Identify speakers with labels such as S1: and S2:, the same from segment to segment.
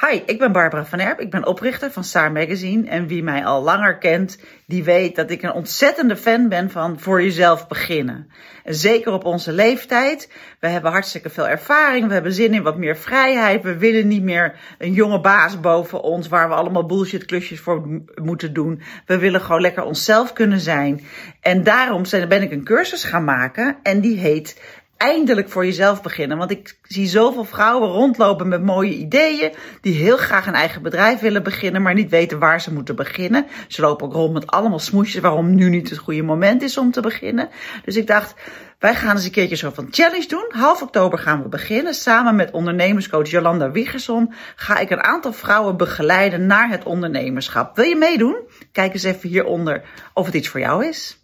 S1: Hi, ik ben Barbara van Erp. Ik ben oprichter van Saar Magazine. En wie mij al langer kent, die weet dat ik een ontzettende fan ben van voor jezelf beginnen. En zeker op onze leeftijd. We hebben hartstikke veel ervaring. We hebben zin in wat meer vrijheid. We willen niet meer een jonge baas boven ons waar we allemaal bullshit klusjes voor m- moeten doen. We willen gewoon lekker onszelf kunnen zijn. En daarom zijn- ben ik een cursus gaan maken. En die heet eindelijk voor jezelf beginnen. Want ik zie zoveel vrouwen rondlopen met mooie ideeën. Die heel graag een eigen bedrijf willen beginnen, maar niet weten waar ze moeten beginnen. Ze lopen ook rond met allemaal smoesjes waarom nu niet het goede moment is om te beginnen. Dus ik dacht, wij gaan eens een keertje zo van challenge doen. Half oktober gaan we beginnen. Samen met ondernemerscoach Jolanda Wiegerson ga ik een aantal vrouwen begeleiden naar het ondernemerschap. Wil je meedoen? Kijk eens even hieronder of het iets voor jou is.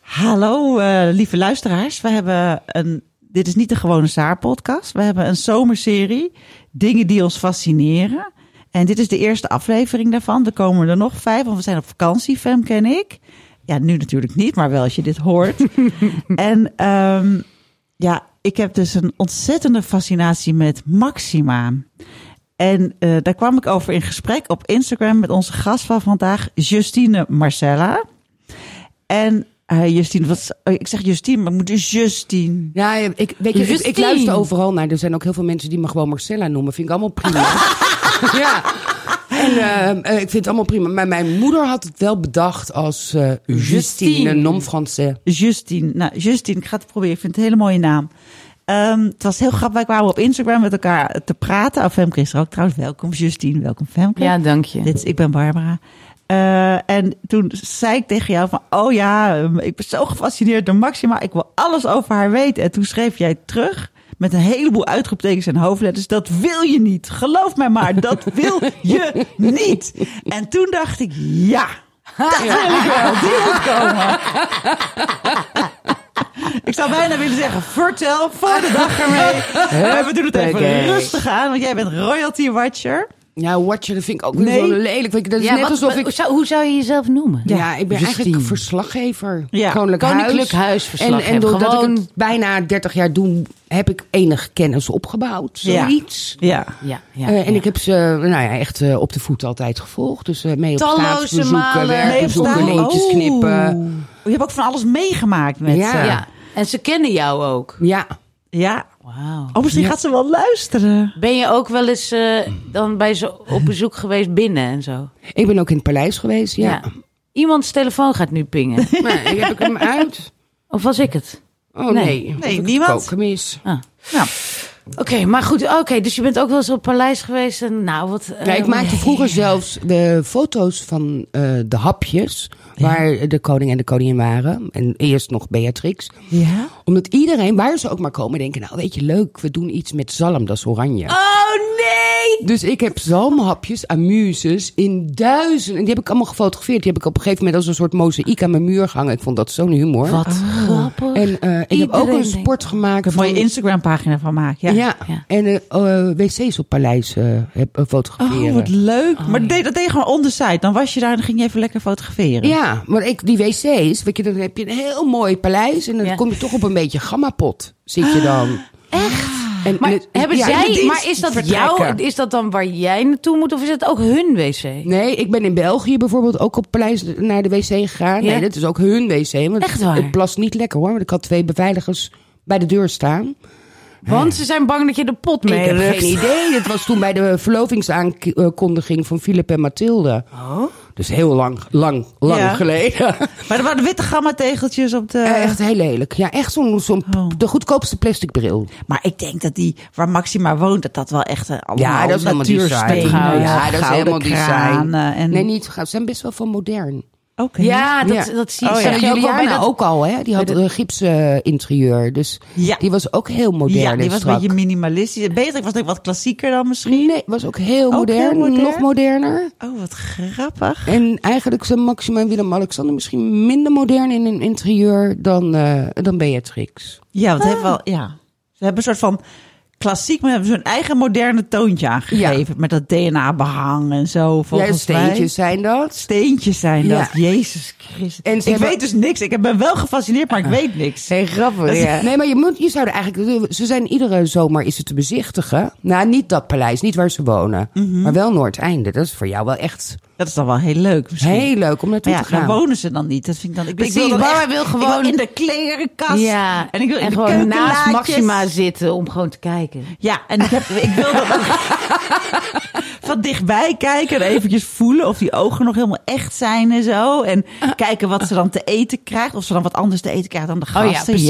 S2: Hallo eh, lieve luisteraars. We hebben een, dit is niet de gewone Saar-podcast. We hebben een zomerserie, dingen die ons fascineren. En dit is de eerste aflevering daarvan. Er komen er nog vijf, want we zijn op vakantie, Fem ken ik. Ja, nu natuurlijk niet, maar wel als je dit hoort. en ehm, ja, ik heb dus een ontzettende fascinatie met Maxima. En eh, daar kwam ik over in gesprek op Instagram met onze gast van vandaag, Justine Marcella. En eh, Justine, wat, is- oh, ik zeg Justine, maar het moet dus Justine.
S3: Ja, ik, weet je, ik, ik
S4: Justine.
S3: luister overal naar. Er zijn ook heel veel mensen die me gewoon Marcella noemen. Vind ik allemaal prima. ja. En ehm, eh, ik vind het allemaal prima. Maar mijn moeder had het wel bedacht als eh, Justine,
S4: Justine.
S3: non-français.
S2: Justine. Nou, Justine, ik ga het proberen. Ik vind het een hele mooie naam. Ehm, het was heel grappig. Wij kwamen op Instagram met elkaar te praten. Oh, Femke is er ook trouwens. Welkom Justine, welkom Femke.
S4: Ja, dank je.
S2: Dit is, ik ben Barbara. Eh, en toen zei ik tegen jou van, oh ja, ehm, ik ben zo gefascineerd door Maxima. Ik wil alles over haar weten. En toen schreef jij terug met een heleboel uitroeptekens en hoofdletters. Dat wil je niet. Geloof mij maar, dat wil je niet. En toen dacht ik, ja, dat wil ik wel. Die moet komen. Ik zou bijna willen zeggen, vertel, voor de dag ermee. Maar we doen het even
S4: Huppakee.
S2: rustig aan, want jij bent royalty watcher.
S3: Ja, watcher, dat vind ik ook weer
S2: Nee.
S3: zo lelijk. Weet je, Dat is net
S4: wat-
S3: alsof
S4: wat-
S3: ik...
S4: zou- hoe zou je jezelf noemen?
S3: Ja, ik ben eigenlijk
S4: Justine.
S3: verslaggever.
S2: Ja,
S3: Koninklijk,
S4: Koninklijk Huisverslaggever.
S3: En, en doordat
S4: Gewoon-
S3: ik het bijna 30 jaar doe, heb ik enige kennis opgebouwd.
S2: Ja.
S3: Zoiets.
S2: Ja.
S4: Ja, ja,
S3: Eh, en
S4: ja.
S3: ik heb ze nou ja, echt eh, op de voet altijd gevolgd. Dus eh, mee op
S4: Talloze
S3: staatsbezoeken,
S4: malen.
S2: Nee, op
S3: werkbezoeken,
S2: staan.
S3: lintjes
S2: Oh.
S3: knippen.
S2: Je hebt ook van alles meegemaakt met
S3: Ja.
S2: ze.
S4: ja. En ze kennen jou ook.
S3: Ja.
S2: Ja.
S4: Wauw.
S2: Oh, misschien gaat ze wel luisteren.
S4: Ben je ook wel eens eh, dan bij ze op bezoek geweest binnen en zo?
S3: Ik ben ook in het paleis geweest, ja.
S4: Iemands telefoon gaat nu pingen.
S3: Nee, heb ik hem uit?
S4: of was ik het?
S3: Oh nee,
S4: Nee.
S3: Of
S2: Nee,
S3: ik het
S2: niemand.
S3: koken mis.
S4: Ah.
S2: Nou,
S4: Oké, maar goed. Oké, dus je bent ook wel eens op paleis geweest en nou wat. eh,
S3: Ja, ik maakte vroeger zelfs de foto's van eh, de hapjes waar de koning en de koningin waren. En eerst nog Beatrix.
S2: ja.
S3: Omdat iedereen, waar ze ook maar komen, denken... nou weet je, leuk, we doen iets met zalm, dat is oranje.
S4: Oh nee!
S3: Dus ik heb zalmhapjes, amuses, in duizenden. En die heb ik allemaal gefotografeerd. Die heb ik op een gegeven moment als een soort mozaïek aan mijn muur gehangen. Ik vond dat zo'n humor.
S4: Wat grappig.
S3: Ah. En eh, ik heb ook
S4: Iedereen
S3: een
S4: denkt-
S3: sport gemaakt
S2: Een mooie
S3: van...
S2: Instagram-pagina van maken. Ja.
S3: Ja.
S4: Ja.
S3: en eh, eh, wc's op Paleis eh, heb, eh, fotograferen.
S2: Oh, wat leuk. maar deed, dat deed je gewoon on the side. Dan was je daar en dan ging je even lekker fotograferen.
S3: Ja, maar ik, die wc's, weet je, dan heb je een heel mooi paleis en dan
S4: Ja.
S3: kom je toch op een beetje gammapot, zit je dan. Echt? En,
S4: Maar
S3: en het-
S4: hebben
S3: ja, in de
S4: zij?
S3: dienst
S4: Maar is dat
S3: vertrekken.
S4: jou? Is dat dan waar jij naartoe moet of is dat ook hun wc?
S3: Nee, ik ben in België bijvoorbeeld ook op paleis naar de wc gegaan.
S4: Ja?
S3: Nee, dat is ook hun wc. Want
S4: Echt waar?
S3: Het plast niet lekker hoor, want ik had twee beveiligers bij de deur staan.
S4: Want ze zijn bang dat je de pot mee
S3: ik heb
S4: rukt.
S3: geen idee. Het was toen bij de verlovingsaankondiging van Filip en Mathilde. Dus heel lang, lang, lang
S2: Ja.
S3: geleden.
S2: Maar er waren witte gamma-tegeltjes op de...
S3: Eh, echt heel lelijk. Ja, echt zo'n zo'n p- de goedkoopste plastic bril.
S2: Maar ik denk dat die waar Maxima woont, dat dat wel echt eh, allemaal
S3: Ja, dat is allemaal
S2: natuurstenen,
S3: design. Ja, dat is
S2: gouden
S3: helemaal design.
S2: kranen En...
S3: Nee, niet goud. Ze zijn best wel van modern.
S2: Oké.
S4: Ja, dat,
S3: Ja.
S4: dat zie
S2: Oh,
S4: ik.
S2: ja.
S4: Zeg
S3: En
S4: je ook wel bij
S3: Juliana
S4: dat-
S3: ook al, hè? Die had
S4: bij
S3: een gips eh, interieur. Dus
S2: Ja.
S3: die was ook heel modern.
S2: Ja, die
S3: en
S2: was
S3: strak.
S2: een beetje minimalistisch. Beter was denk ik wat klassieker dan misschien.
S3: Nee, was ook heel
S2: Ook
S3: modern.
S2: heel modern?
S3: Nog moderner.
S2: Oh, wat grappig.
S3: En eigenlijk zijn Maxima en Willem-Alexander misschien minder modern in hun interieur dan, eh, dan Beatrix.
S2: Ja, want het heeft wel, ja. Ze hebben een soort van klassiek, maar hebben ze hun eigen moderne toontje aangegeven. Met dat DNA-behang en zo,
S3: Ja,
S2: volgens mij.
S3: steentjes zijn dat.
S2: Steentjes zijn dat.
S3: Ja.
S2: Jezus Christus.
S3: En
S2: ik
S3: ze hebben-
S2: weet dus niks. Ik ben wel gefascineerd, maar ik weet niks.
S3: Zijn grappig,
S2: ja.
S3: Nee, maar je, moet, je zou er eigenlijk... Ze zijn iedere zomer is het te bezichtigen. Nou, niet dat paleis, niet waar ze wonen.
S2: Mhm.
S3: Maar wel Noordeinde. Dat is voor jou wel echt
S2: Dat is dan wel heel leuk misschien.
S3: heel leuk om naartoe
S2: Maar ja,
S3: te gaan.
S2: daar wonen ze dan niet. Dat vind ik dan... Ik,
S4: Precies,
S2: ik wil dan
S4: Barbara
S2: echt-
S4: wil
S2: ik
S4: gewoon-
S2: in de klerenkast.
S4: Ja,
S2: En ik wil in de
S4: gewoon naast
S2: keukenlaadjes.
S4: Maxima zitten om gewoon te kijken.
S2: Ja, en ik, heb, ik wil dat ook van dichtbij kijken en eventjes voelen of die ogen nog helemaal echt zijn en zo. En
S4: Eh.
S2: kijken wat ze dan te eten krijgt. Of ze dan wat anders te eten krijgt dan de gasten.
S4: Oh Dat is,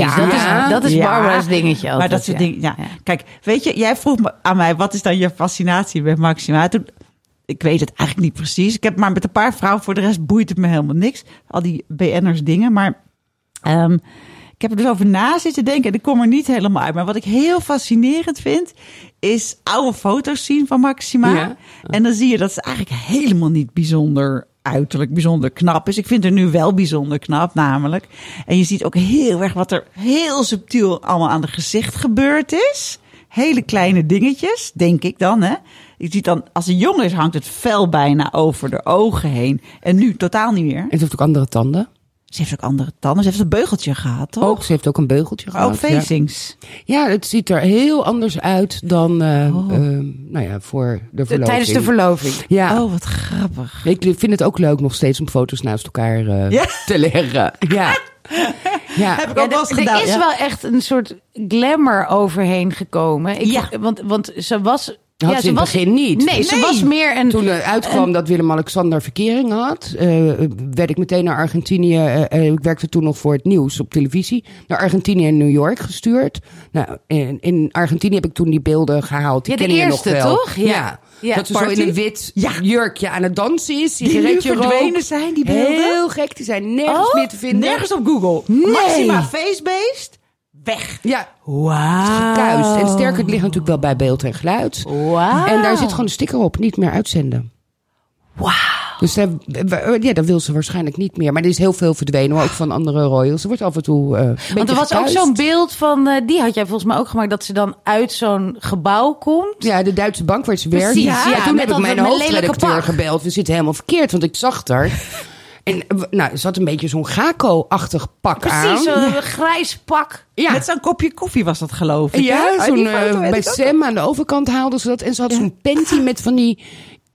S4: dat is
S2: Ja.
S4: Barbara's dingetje.
S2: maar
S4: altijd,
S2: dat soort
S4: ja.
S2: dingen, ja. Kijk, weet je, jij vroeg me aan mij, wat is dan je fascinatie met Maxima? Toen, ik weet het eigenlijk niet precies. Ik heb maar met een paar vrouwen, voor de rest boeit het me helemaal niks. Al die BN'ers dingen, maar... ehm, ik heb er dus over na zitten denken en ik kom er niet helemaal uit. Maar wat ik heel fascinerend vind, is oude foto's zien van Maxima.
S3: Ja.
S2: En dan zie je dat ze eigenlijk helemaal niet bijzonder uiterlijk, bijzonder knap is. Ik vind haar nu wel bijzonder knap, namelijk. En je ziet ook heel erg wat er heel subtiel allemaal aan het gezicht gebeurd is. Hele kleine dingetjes, denk ik dan, hè. Je ziet dan, als ze jong is, hangt het vel bijna over de ogen heen. En nu totaal niet meer.
S3: En ze heeft ook andere tanden.
S2: Ze heeft ook andere tanden. Ze heeft een beugeltje gehad, toch?
S3: Ook, ze heeft ook een beugeltje gehad.
S2: Ook facings.
S3: Ja. ja, het ziet er heel anders uit dan eh, ehm, nou ja, voor de verloving.
S4: Tijdens de verloving.
S3: Ja,
S2: Oh, wat grappig.
S3: ik vind het ook leuk nog steeds om foto's naast elkaar eh,
S2: Ja.
S3: te leggen. Ja. ja.
S2: Heb ik
S4: Ja,
S2: ook wel eens
S4: er-
S2: gedaan.
S4: er is
S2: ja.
S4: wel echt een soort glamour overheen gekomen. Ik,
S2: Ja.
S4: want, want ze was... ja,
S3: ze in
S4: ze
S3: het
S4: was,
S3: begin niet.
S4: Nee, ze
S2: Nee.
S4: was meer een...
S3: Toen er uitkwam dat Willem-Alexander verkering had, eh, werd ik meteen naar Argentinië. eh, eh, ik werkte toen nog voor het nieuws op televisie. Naar Argentinië en New York gestuurd. Nou, in, in Argentinië heb ik toen die beelden gehaald. Die
S4: Ja, de
S3: ken je
S4: eerste,
S3: nog wel.
S4: toch? Ja. Ja,
S3: dat ze
S2: party.
S3: zo in een wit
S2: Ja.
S3: jurkje aan het dansen is.
S2: Die nu
S3: sigaretje rookt.
S2: verdwenen zijn, die beelden.
S3: Heel gek, die zijn nergens
S2: Oh,
S3: meer te vinden.
S2: Nergens op Google.
S3: Nee.
S2: Maxima Facebeest, weg.
S3: Ja,
S2: Wauw.
S3: kuist. En sterker, het ligt natuurlijk wel bij beeld en geluid.
S4: Oh. Wauw.
S3: En daar zit gewoon een sticker op, niet meer uitzenden. Wauw. Dus daar, ja, dat wil ze waarschijnlijk niet meer. Maar er is heel veel verdwenen, maar ook van andere royals. Ze wordt af en toe eh, een
S4: Want
S3: beetje
S4: er was ook
S3: gekuist.
S4: zo'n beeld van... eh, die had jij volgens mij ook gemaakt. Dat ze dan uit zo'n gebouw komt.
S3: Ja, de Duitse bank waar ze werkt.
S4: Precies, ja,
S3: toen
S4: met
S3: heb ik
S4: dat-
S3: mijn
S4: met lelijke
S3: hoofdredacteur
S4: pak.
S3: gebeld. We zitten helemaal verkeerd, want ik zag haar. En eh, nou, ze had een beetje zo'n Gako-achtig pak aan.
S4: Precies, zo'n grijs pak.
S3: Ja.
S2: Met zo'n kopje koffie was dat, geloof ik. hè?
S3: Ja,
S2: Uit
S3: zo'n,
S2: die
S3: eh,
S2: foto weet
S3: bij
S2: ik ook
S3: Sam aan de overkant haalden ze dat. En ze had zo'n panty met van die...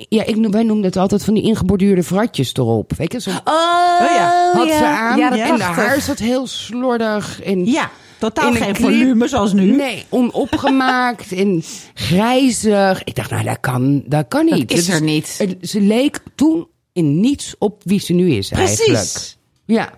S3: Ja, ik, noem- wij noemden het altijd van die ingeborduurde vratjes erop. Weet je, zo'n
S4: Oh,
S3: eh,
S2: ja.
S3: had ze aan.
S4: Ja, dat
S3: en de
S2: prachtig.
S3: haar zat heel slordig. En
S2: Ja, totaal
S3: in een
S2: geen
S3: clip.
S2: volume zoals nu.
S3: Nee, onopgemaakt en grijzig. Ik dacht, nou, dat kan, dat kan niet.
S4: is
S3: Het
S4: er niet.
S3: het- Ze leek toen in niets op wie ze nu is eigenlijk.
S2: Precies.
S3: Ja,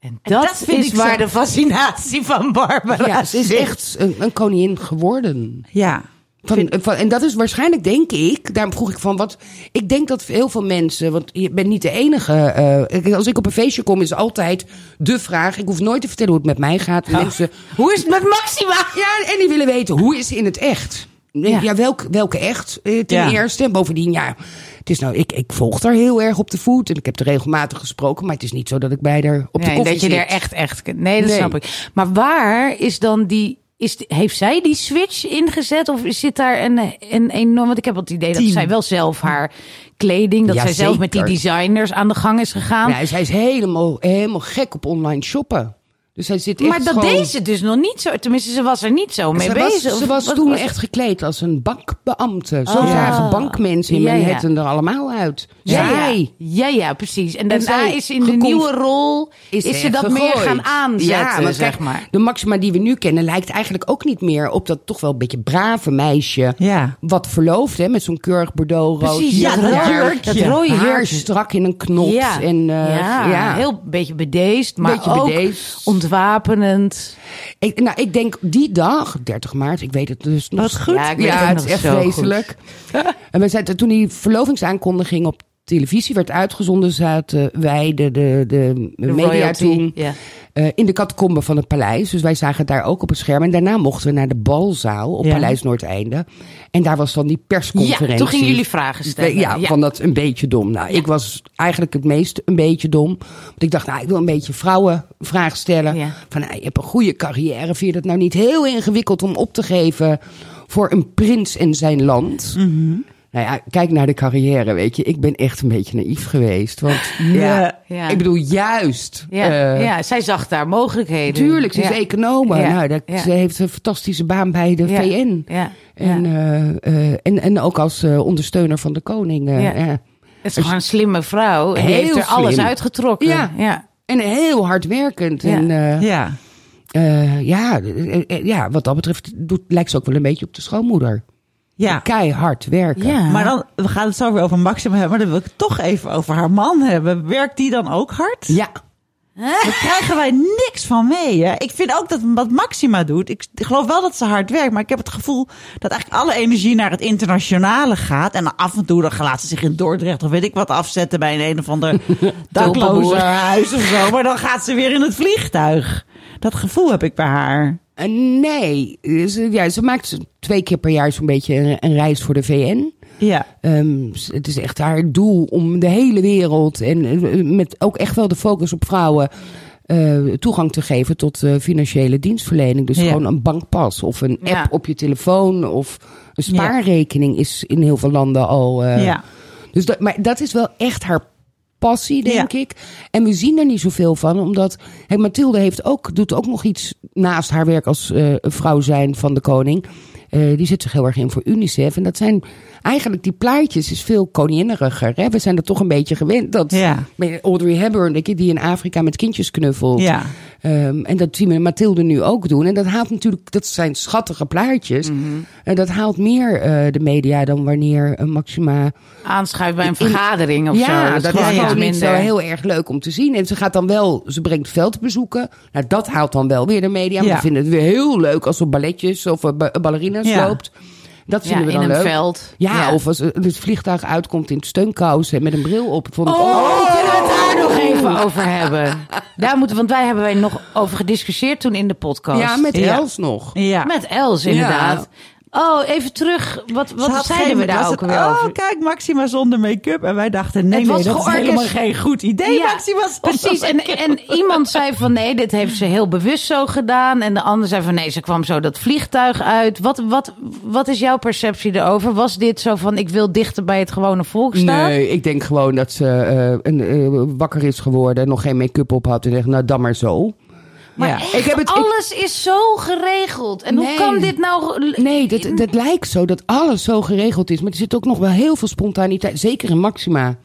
S4: En
S2: Dat,
S4: dat,
S2: vind
S4: is
S2: ik
S4: waar
S2: zo-
S4: de fascinatie van Barbara
S3: ja ze is
S4: zit.
S3: echt een, een koningin geworden.
S2: Ja.
S3: Van, van, en dat is waarschijnlijk, denk ik, daarom vroeg ik van wat. Ik denk dat heel veel mensen, want je bent niet de enige. eh, ik- als ik op een feestje kom, is altijd de vraag. Ik hoef nooit te vertellen hoe het met mij gaat. Mensen,
S4: Hoe is het met Maxima?
S3: ja, en die willen weten hoe is ze in het echt? Ja,
S4: Ja.
S3: welk, welke echt? eh, ten
S2: Ja.
S3: eerste. En bovendien, ja, het is nou, ik, ik volg haar heel erg op de voet. En ik heb er regelmatig gesproken, maar het is niet zo dat ik bij haar op de
S4: nee,
S3: koffie
S4: dat je
S3: zit.
S4: er echt, echt... kunt- Nee, dat
S3: Nee.
S4: snap ik. Maar waar is dan die... Is, die- heeft zij die switch ingezet? Of zit daar een, een enorm... Want ik heb het idee dat
S2: Team.
S4: zij wel zelf haar kleding... dat
S3: Ja,
S4: zij zelf met die
S3: zeker.
S4: designers aan de gang is gegaan.
S3: Ja, zij is helemaal, helemaal gek op online shoppen. Dus zij zit echt
S4: maar dat
S3: gewoon...
S4: deed ze dus nog niet zo. Tenminste, ze was er niet zo mee
S3: Ze was,
S4: bezig. Of
S3: ze was
S4: wat-
S3: toen
S4: was-
S3: echt gekleed als een bankbeambte. Zo
S4: Oh.
S3: zagen bankmensen in
S4: Ja, ja.
S3: Manhattan er allemaal uit.
S4: Ja, ja.
S3: Zij
S4: ja, ja, precies. En daarna
S3: zij
S4: is in de
S3: gecon-
S4: nieuwe rol is, ze
S3: echt
S4: dat
S3: gegooid.
S4: meer gaan aanzetten,
S3: Ja, want
S4: zeg
S3: kijk,
S4: maar.
S3: De Maxima die we nu kennen lijkt eigenlijk ook niet meer op dat toch wel een beetje brave meisje.
S2: Ja.
S3: Wat verloofd, hè, met zo'n keurig bordeaux rood.
S4: Precies,
S2: ja, dat
S3: haar-
S2: jurkje.
S3: Dat rode
S4: Haar
S3: haar strak in een knop.
S4: Ja,
S3: En, eh,
S4: ja,
S3: ja.
S4: heel beetje bedeesd, maar
S3: Beetje
S4: ook
S3: bedeesd.
S4: ontwapenend.
S3: Ik, nou, ik denk die dag, 30 maart, ik weet het dus nog
S2: Wat goed.
S4: Ja, ik weet
S3: Ja,
S4: het
S3: het
S4: nog
S3: is echt
S4: zo goed.
S3: vreselijk. en we zeiden toen die verlovingsaankondiging op televisie werd uitgezonden, zaten wij, de, de, de, media
S4: royalty,
S3: toen,
S4: Ja.
S3: eh, in de catacomben van het paleis. Dus wij zagen het daar ook op het scherm. En daarna mochten we naar de balzaal op
S2: Ja.
S3: Paleis Noordeinde. En daar was dan die persconferentie.
S4: Ja, toen gingen jullie vragen stellen.
S3: Ja, van dat een beetje dom. Nou, ik was eigenlijk het meest een beetje dom. Want ik dacht, nou, ik wil een beetje vrouwen vraag stellen.
S4: Ja.
S3: Van, nou, je hebt een goede carrière. Vind je dat nou niet heel ingewikkeld om op te geven voor een prins en zijn land?
S4: Mhm.
S3: Nou ja, kijk naar de carrière, weet je. Ik ben echt een beetje naïef geweest. Want ja,
S4: Ja.
S3: ik bedoel, juist.
S4: Ja,
S3: eh,
S4: ja, zij zag daar mogelijkheden.
S3: Tuurlijk, ze is
S4: Ja.
S3: econoom.
S4: Ja.
S3: Nou, dat,
S4: Ja.
S3: Ze heeft een fantastische baan bij de
S4: Ja.
S3: VN.
S4: Ja.
S3: En,
S4: Ja.
S3: eh, eh, en, en ook als eh, ondersteuner van de koning. eh,
S4: Ja.
S3: ja.
S4: Het is gewoon een slimme vrouw. En die
S3: Heel
S4: heeft er alles
S3: slim.
S4: uitgetrokken.
S3: Ja.
S4: ja.
S3: En heel hardwerkend.
S4: Ja.
S3: En eh,
S2: Ja.
S3: eh, ja, eh, eh, ja, wat dat betreft doet, lijkt ze ook wel een beetje op de schoonmoeder.
S2: Ja.
S3: Keihard werken.
S4: Ja.
S2: Maar dan, we gaan het zo weer over Maxima hebben, maar dan wil ik het toch even over haar man hebben. Werkt die dan ook hard?
S3: Ja.
S2: Daar krijgen wij niks van mee. Hè? Ik vind ook dat wat Maxima doet. Ik geloof wel dat ze hard werkt. Maar ik heb het gevoel dat eigenlijk alle energie naar het internationale gaat. En dan af en toe dan laat ze zich in Dordrecht of weet ik wat afzetten bij een, een of ander daklozenhuis of zo. Maar dan gaat ze weer in het vliegtuig. Dat gevoel heb ik bij haar.
S3: Eh, nee, ze, ja, ze maakt twee keer per jaar zo'n beetje een, een reis voor de VN.
S2: Ja.
S3: Ehm, s- het is echt haar doel om de hele wereld en eh, met ook echt wel de focus op vrouwen eh, toegang te geven tot eh, financiële dienstverlening. Dus
S2: Ja.
S3: gewoon een bankpas of een app
S4: Ja.
S3: op je telefoon of een spaarrekening is in heel veel landen al. eh,
S2: ja.
S3: dus dat, maar dat is wel echt haar passie, denk
S2: Ja.
S3: ik. En we zien er niet zoveel van, omdat hey, Mathilde heeft ook, doet ook nog iets naast haar werk als eh, vrouw zijn van de koning. Eh, die zit zich heel erg in voor UNICEF. En dat zijn eigenlijk die plaatjes, is veel koninginneriger. Hè? We zijn er toch een beetje gewend. Dat
S2: Ja.
S3: Audrey Hepburn, weet je, die in Afrika met kindjes knuffelt.
S2: Ja.
S3: Ehm, en dat zien we Mathilde nu ook doen. En dat haalt natuurlijk, dat zijn schattige plaatjes.
S2: Mhm.
S3: En dat haalt meer eh, de media dan wanneer eh, Maxima
S4: Aanschuift bij een vergadering of zo.
S3: ja, dat is
S4: gewoon
S3: gewoon
S4: iets
S3: niet zo
S4: minder.
S3: heel erg leuk om te zien. En ze gaat dan wel, ze brengt veldbezoeken. Nou, dat haalt dan wel weer de media. Maar
S2: Ja.
S3: we vinden het weer heel leuk als ze op balletjes of eh, ba- ballerina's
S2: Ja.
S3: loopt. Dat
S4: Ja,
S3: vinden we
S4: in
S3: dan
S4: een
S3: leuk.
S4: veld.
S3: Ja,
S4: Ja.
S3: of als eh, het vliegtuig uitkomt in steunkousen met een bril op. Vond ik,
S4: Oh,
S3: ook-
S4: kunnen we het
S3: oh.
S4: daar nog even over hebben? Daar moeten, want wij hebben wij nog over gediscussieerd toen in de podcast.
S3: ja, met
S2: Ja.
S3: Els nog.
S2: ja.
S4: Met Els, inderdaad. Oh, even terug. Wat,
S2: Ze
S4: wat
S2: had
S4: zeiden
S2: geen-
S4: we daar
S2: was
S4: ook
S2: het,
S4: weer over?
S2: Oh, kijk, Maxima zonder make-up. En wij dachten, nee,
S4: Het
S2: nee
S4: was
S2: dat is
S4: georkest-
S2: helemaal geen goed idee,
S4: Ja,
S2: Maxima zonder
S4: Precies, en,
S2: make-up.
S4: en iemand zei van nee, dit heeft ze heel bewust zo gedaan. En de ander zei van nee, ze kwam zo dat vliegtuig uit. Wat, wat, wat is jouw perceptie erover? Was dit zo van ik wil dichter bij het gewone volk staan?
S3: Nee, ik denk gewoon dat ze eh, een, eh, wakker is geworden en nog geen make-up op had. En zegt, nou dan maar zo.
S2: Maar
S3: Ja.
S2: echt,
S3: ik heb het, ik-
S4: Alles is zo geregeld. En hoe
S3: Nee.
S4: kan dit nou...
S3: Nee, dat, dat lijkt zo dat alles zo geregeld is. Maar er zit ook nog wel heel veel spontaniteit. Zeker in Maxima.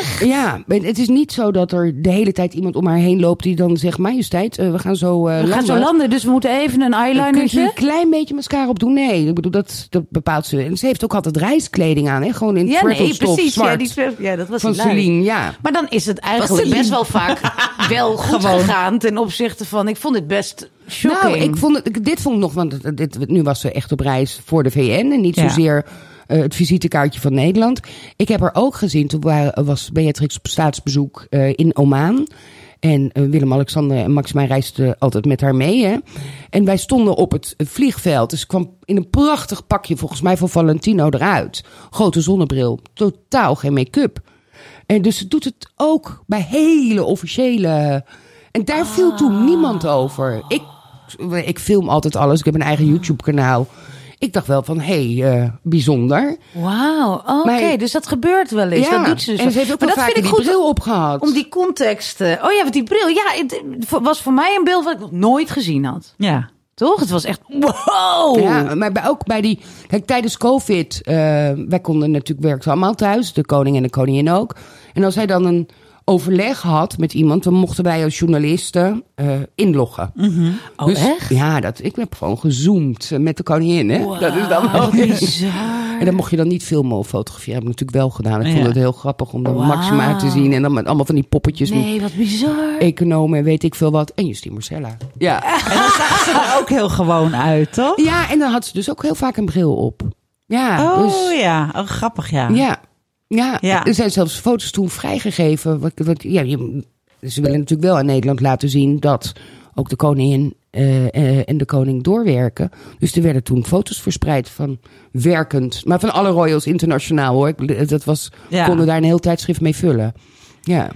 S3: Echt? Ja, en het is niet zo dat er de hele tijd iemand om haar heen loopt die dan zegt: Majesteit, eh, we gaan zo. eh
S4: We gaan zo landen, dus we moeten even een
S3: Kun je een
S4: eyelinertje.
S3: klein beetje mascara op doen? Nee, ik bedoel, dat, dat bepaalt ze. En ze heeft ook altijd reiskleding aan, hè? gewoon in
S4: Ja, nee,
S3: turtlestof
S4: precies. Ja,
S3: zwart
S4: die, ja, dat was
S3: van
S4: hilarisch.
S3: Celine. Ja.
S4: Maar dan is het eigenlijk best wel vaak wel goed gegaan ten opzichte van... Ik vond het best shocking.
S3: Nou, ik vond het, ik- dit vond ik nog, want dit, nu was ze echt op reis voor de VN en niet
S2: Ja.
S3: zozeer eh, het visitekaartje van Nederland. Ik heb haar ook gezien, toen wa- was Beatrix op staatsbezoek eh, in Oman. En eh, Willem-Alexander en Maxima reisden altijd met haar mee. Hè? En wij stonden op het eh, vliegveld. Dus ze kwam in een prachtig pakje, volgens mij van Valentino, eruit. Grote zonnebril, totaal geen make-up. En dus ze doet het ook bij hele officiële. En daar
S4: Ah.
S3: viel toen niemand over. Ik, ik film altijd alles. Ik heb een eigen YouTube-kanaal. Ik dacht wel van, hé, hey, eh, bijzonder.
S4: Wauw, oké,
S3: Maar-
S4: dus dat gebeurt wel eens. dat doet ze dus.
S3: En ze heeft ook
S4: maar
S3: wel
S4: dat
S3: vaak
S4: vind ik
S3: die
S4: goed
S3: bril opgehad.
S4: om die context. eh, oh ja, want die bril, ja, het eh, was voor mij een beeld wat ik nog nooit gezien had.
S2: Ja.
S4: Toch? Het was echt wow.
S3: Ja, maar bij, ook bij die... Kijk, tijdens COVID... eh, wij konden natuurlijk werken allemaal thuis. De koning en de koningin ook. En als hij dan een overleg had met iemand... dan mochten wij als journalisten eh, inloggen.
S4: Oh,
S3: Dus-
S4: echt?
S3: Ja, dat, ik heb gewoon gezoomd eh, met de koningin. Hè? Dat is dan wel...
S4: Wat bizar.
S3: En dan mocht je dan niet filmen of fotograferen. Heb ik natuurlijk wel gedaan. Ik vond
S2: Ja.
S3: het heel grappig om dan
S4: Wauw.
S3: Maxima te zien. En dan met allemaal van die poppetjes. met
S4: Nee, wat bizar.
S3: Economen en weet ik veel wat. En Justine Marcella. Ja.
S2: En dan zag ze er ook heel gewoon uit, toch?
S3: ja, en dan had ze dus ook heel vaak een bril op. Ja,
S2: Oh
S3: dus,
S2: ja, oh, grappig ja.
S3: ja. Ja,
S2: Ja.
S3: er zijn zelfs foto's toen vrijgegeven. Wat, wat, ja, je- ze willen natuurlijk wel aan Nederland laten zien dat ook de koningin eh, eh, en de koning doorwerken. Dus er werden toen foto's verspreid van werkend. Maar van alle royals internationaal hoor. Ik- Dat was,
S2: Ja.
S3: konden daar een heel tijdschrift mee vullen. Ja.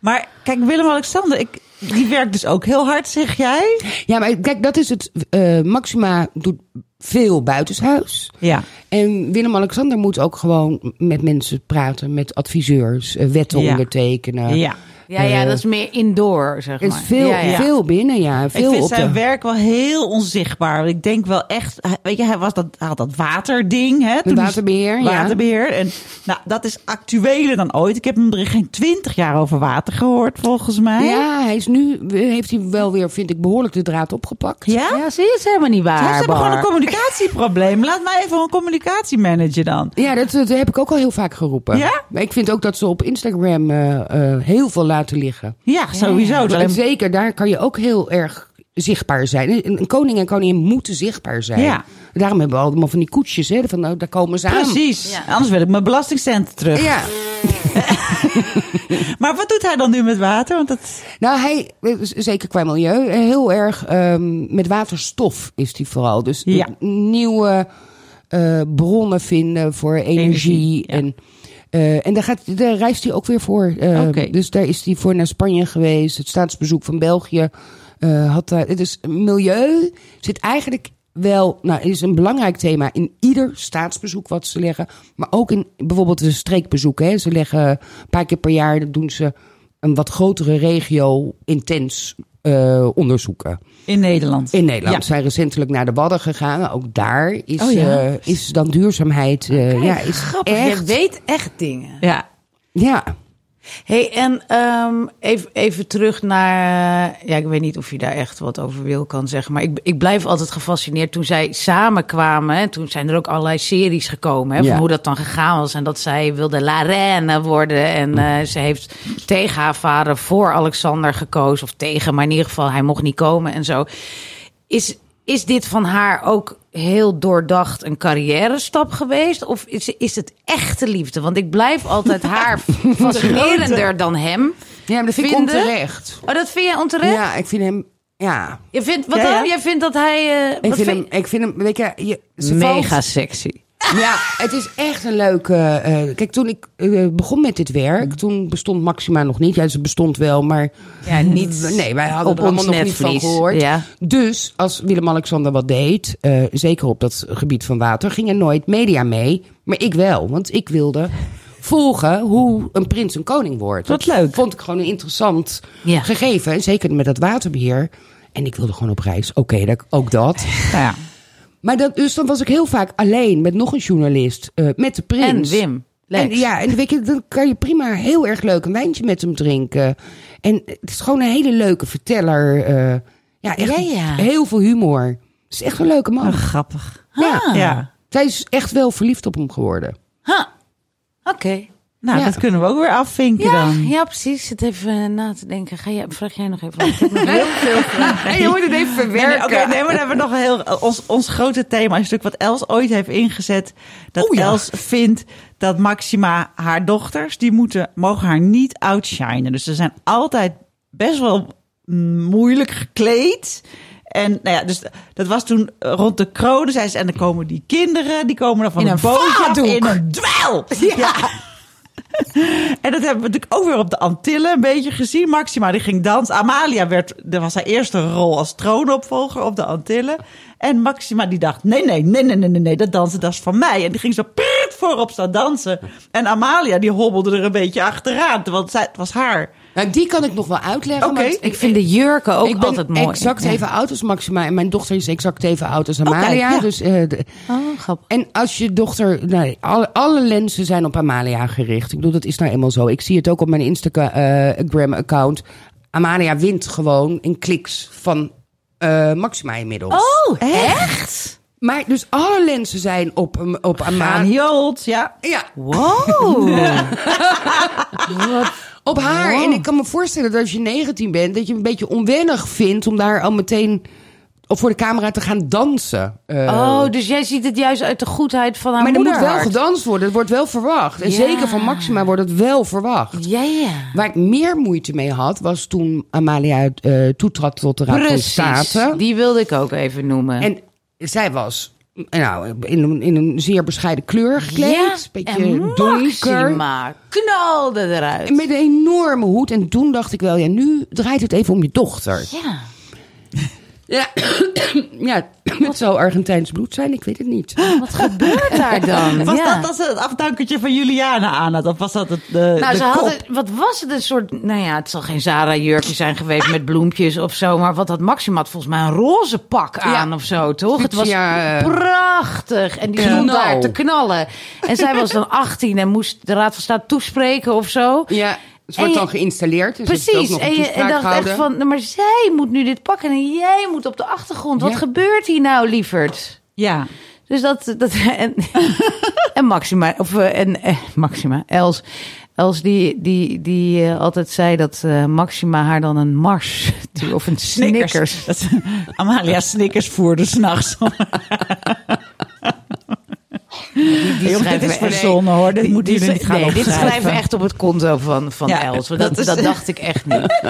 S2: Maar kijk, Willem-Alexander, ik, die werkt dus ook heel hard, zeg jij?
S3: ja, maar kijk, dat is het. eh, Maxima doet veel buitenshuis.
S2: Ja.
S3: En Willem-Alexander moet ook gewoon met mensen praten, met adviseurs, eh, wetten
S2: Ja.
S3: ondertekenen.
S2: ja.
S4: Ja, ja, dat is meer indoor, zeg maar.
S3: Het is veel,
S4: ja, ja.
S3: veel binnen, ja.
S2: Ik
S3: Veel
S2: vind
S3: op
S2: zijn
S3: de...
S2: werk wel heel onzichtbaar. Ik denk wel echt, hij- weet je, hij, was dat, hij had dat waterding. Hè, toen hij-
S3: waterbeheer, ja.
S2: Waterbeheer. En, nou, dat is actueler dan ooit. Ik heb hem er geen twintig jaar over water gehoord, volgens mij.
S3: Ja, hij is nu, eh, heeft hij wel weer, vind ik, behoorlijk de draad opgepakt.
S2: Ja?
S4: Ja, zie je, het is helemaal niet waar.
S2: Ze hebben gewoon
S4: Bar.
S2: een communicatieprobleem. Laat mij even een communicatiemanager dan.
S3: Ja, dat, dat heb ik ook al heel vaak geroepen.
S2: Ja?
S3: Maar ik vind ook dat ze op Instagram eh, eh, heel veel laten liggen.
S2: Ja, sowieso.
S3: En
S2: Alleen-
S3: zeker, daar kan je ook heel erg zichtbaar zijn. Een, een koning en koningin moeten zichtbaar zijn.
S2: Ja.
S3: Daarom hebben we allemaal van die koetsjes, hè, van nou, daar komen ze aan.
S2: Precies.
S4: Ja.
S2: Anders wil ik mijn belastingcenten terug.
S3: Ja,
S2: Maar wat doet hij dan nu met water? Want dat...
S3: nou hij, eh, z- zeker qua milieu, eh, heel erg ehm, met waterstof is hij vooral. Dus
S2: Ja.
S3: n- nieuwe eh, bronnen vinden voor energie.
S2: Energie, ja.
S3: en, eh, en daar, gaat, daar reist hij ook weer voor. eh,
S2: Oké.
S3: Dus daar is hij voor naar Spanje geweest. Het staatsbezoek van België. eh had daar, dus milieu zit eigenlijk wel, nou, is een belangrijk thema in ieder staatsbezoek wat ze leggen. Maar ook in bijvoorbeeld de streekbezoeken. Hè. Ze leggen een paar keer per jaar, doen ze een wat grotere regio intens eh, onderzoeken.
S2: In Nederland.
S3: In Nederland
S2: Ja.
S3: Ze zijn recentelijk naar de Wadden gegaan. Ook daar is,
S2: Oh ja.
S3: eh, is dan duurzaamheid. eh, ja, is
S4: Grappig, je
S3: echt.
S4: weet echt dingen.
S2: Ja.
S3: Ja.
S4: hey, en ehm, even, even terug naar... eh, Ja, ik weet niet of je daar echt wat over wil kan zeggen. Maar ik, ik blijf altijd gefascineerd toen zij samenkwamen. hè, Toen zijn er ook allerlei series gekomen. Hè,
S3: Ja.
S4: Van hoe dat dan gegaan was. En dat zij wilde La Reine worden. En
S3: Mm.
S4: eh, ze heeft tegen haar vader voor Alexander gekozen. Of tegen, maar in ieder geval hij mocht niet komen en zo. Is, is dit van haar ook heel doordacht een carrière stap geweest? Of is, is het echte liefde? Want ik blijf altijd haar fascinerender dan hem.
S3: ja, maar dat vind ik
S4: Vinden?
S3: onterecht.
S4: Oh, dat vind je onterecht?
S3: Ja, ik vind hem. Ja.
S4: Je vindt, wat
S2: Ja, ja.
S4: dan? Jij vindt dat hij... eh,
S3: Ik
S4: wat
S3: vind,
S4: vind-
S3: hem, ik vind hem. Weet je, je ze
S4: mega
S3: valt-
S4: sexy.
S3: Ja, het is echt een leuke. eh, kijk, toen ik eh, begon met dit werk, toen bestond Maxima nog niet. Ja, ze bestond wel, maar.
S4: Ja, niet
S3: Nee, wij hadden
S4: op
S3: er allemaal
S4: ons
S3: nog niet van
S4: netvlies.
S3: gehoord.
S4: Ja.
S3: Dus als Willem-Alexander wat deed, eh, zeker op dat gebied van water, ging er nooit media mee. Maar ik wel, want ik wilde volgen hoe een prins een koning wordt.
S2: Wat
S3: Dat
S2: leuk.
S3: Vond ik gewoon een interessant
S4: Ja.
S3: gegeven. En zeker met dat waterbeheer. En ik wilde gewoon op reis. Oké, dat- ook dat.
S2: Nou ja.
S3: Maar dat, dus dan was ik heel vaak alleen met nog een journalist, eh, met de
S4: En
S3: prins.
S4: Wim.
S3: En,
S4: Lex.
S3: ja, en weet je, dan kan je prima heel erg leuk een wijntje met hem drinken. En het is gewoon een hele leuke verteller. eh, ja, echt
S4: Ja, ja.
S3: heel veel humor. Het is echt een leuke man.
S2: Oh, grappig.
S4: ah.
S3: ja.
S2: Ja.
S3: Zij is echt wel verliefd op hem geworden.
S4: Ha. Oké.
S2: Nou,
S3: Ja.
S2: dat kunnen we ook weer afvinken
S4: Ja,
S2: dan.
S4: ja, precies. Zit even eh, na te denken. Ga jij, vraag jij nog even. want ik heb nog heel veel
S3: En je moet het even
S2: Nee, nee, Oké, nee, maar dan hebben we nog een heel. Ons, ons grote thema is natuurlijk wat Els ooit heeft ingezet. Dat
S3: Oeh, ja.
S2: Els vindt dat Maxima haar dochters, die moeten, mogen haar niet outshinen. Dus ze zijn altijd best wel mm, moeilijk gekleed. En nou ja, dus dat was toen eh, rond de kronen. Zei ze, en dan komen die kinderen, die komen dan van
S4: In
S2: een
S4: een
S2: bootje af,
S4: vaatdoek.
S2: in een dwel. ja. En dat hebben we natuurlijk ook weer op de Antillen een beetje gezien. Maxima die ging dansen. Amalia werd, dat was haar eerste rol als troonopvolger op de Antillen. En Maxima die dacht, nee, nee, nee, nee, nee, nee, nee, dat dansen, dat is van mij. En die ging zo prrrt voorop staan dansen. En Amalia die hobbelde er een beetje achteraan, want zij, het was haar.
S3: Nou, die kan ik nog wel uitleggen.
S2: Oké.
S3: want
S4: Ik vind de jurken ook
S3: ik ben
S4: altijd mooi.
S3: exact
S4: Ja.
S3: even oud als Maxima. En mijn dochter is exact even oud als Amalia.
S2: ja.
S3: Dus eh, de-
S4: Oh, grappig.
S3: En als je dochter. Nee, alle, alle lenzen zijn op Amalia gericht. Ik bedoel, dat is nou eenmaal zo. Ik zie het ook op mijn Instagram-account. Eh, Amalia wint gewoon in kliks van eh, Maxima inmiddels.
S4: Oh,
S2: Echt?
S3: Maar dus alle lenzen zijn op, op Amalia.
S2: Maniold, ja.
S3: Ja,
S4: Wow.
S3: op haar. En ik kan me voorstellen dat als je 19 bent, dat je een beetje onwennig vindt om daar al meteen Of voor de camera te gaan dansen. Eh,
S4: Oh, dus jij ziet het juist uit de goedheid van haar
S3: maar er moet wel
S4: moederhart.
S3: gedanst worden. Het wordt wel verwacht. En
S4: Ja.
S3: zeker van Maxima wordt het wel verwacht.
S4: Ja, ja.
S3: Waar ik meer moeite mee had, was toen Amalia eh, toetrad tot de Raad van
S4: Precies.
S3: State.
S4: Die wilde ik ook even noemen.
S3: En zij was m, nou, in, een, in een zeer bescheiden kleur gekleed.
S4: ja,
S3: Een
S4: en
S3: beetje donker.
S4: Maxima knalde eruit.
S3: En Met een enorme hoed. En toen dacht ik wel, ja, nu draait het even om je dochter.
S4: Ja.
S3: Ja, ja het zou Argentijns bloed zijn, ik weet het niet.
S4: Wat gebeurt daar dan?
S2: Was
S4: ja.
S2: dat als het afdankertje van Juliana aan had? Of was dat het, de,
S4: nou,
S2: de
S4: ze
S2: kop?
S4: hadden, wat was het? Een soort, nou ja, het zal geen Zara-jurkje zijn geweest met bloempjes of zo. Maar wat had Maxima? had volgens mij een roze pak aan of zo, toch? Het was
S3: Fuchsia, eh,
S4: prachtig. En die
S3: knal.
S4: stond daar te knallen. En zij was dan 18 en moest de Raad van State toespreken of zo.
S3: Ja, het
S4: En
S3: wordt
S4: je-
S3: dan geïnstalleerd. Dus het is ook
S4: Precies,
S3: nog een
S4: en je en
S3: toespraak
S4: dacht echt
S3: gehouden.
S4: van, nou, maar zij moet nu dit pakken en jij moet op de achtergrond. Wat
S3: Ja.
S4: gebeurt hier nou, lieverd?
S2: Ja.
S4: Dus dat. dat en, en Maxima, of eh, en eh, Maxima, Els. Els die, die, die eh, altijd zei dat eh, Maxima haar dan een mars of een snickers.
S2: Dat is- Amalia Snickers voerde s'nachts. Jongen, dit
S4: schrijven
S2: is
S4: we-
S2: verzonnen hoor. Dit moeten jullie niet gaan
S4: nee, dit
S2: opschrijven.
S4: schrijven we echt op het konto van, van
S2: Ja,
S4: Els. want
S2: dat
S4: Dat,
S2: is-
S4: dat, dacht ik echt niet.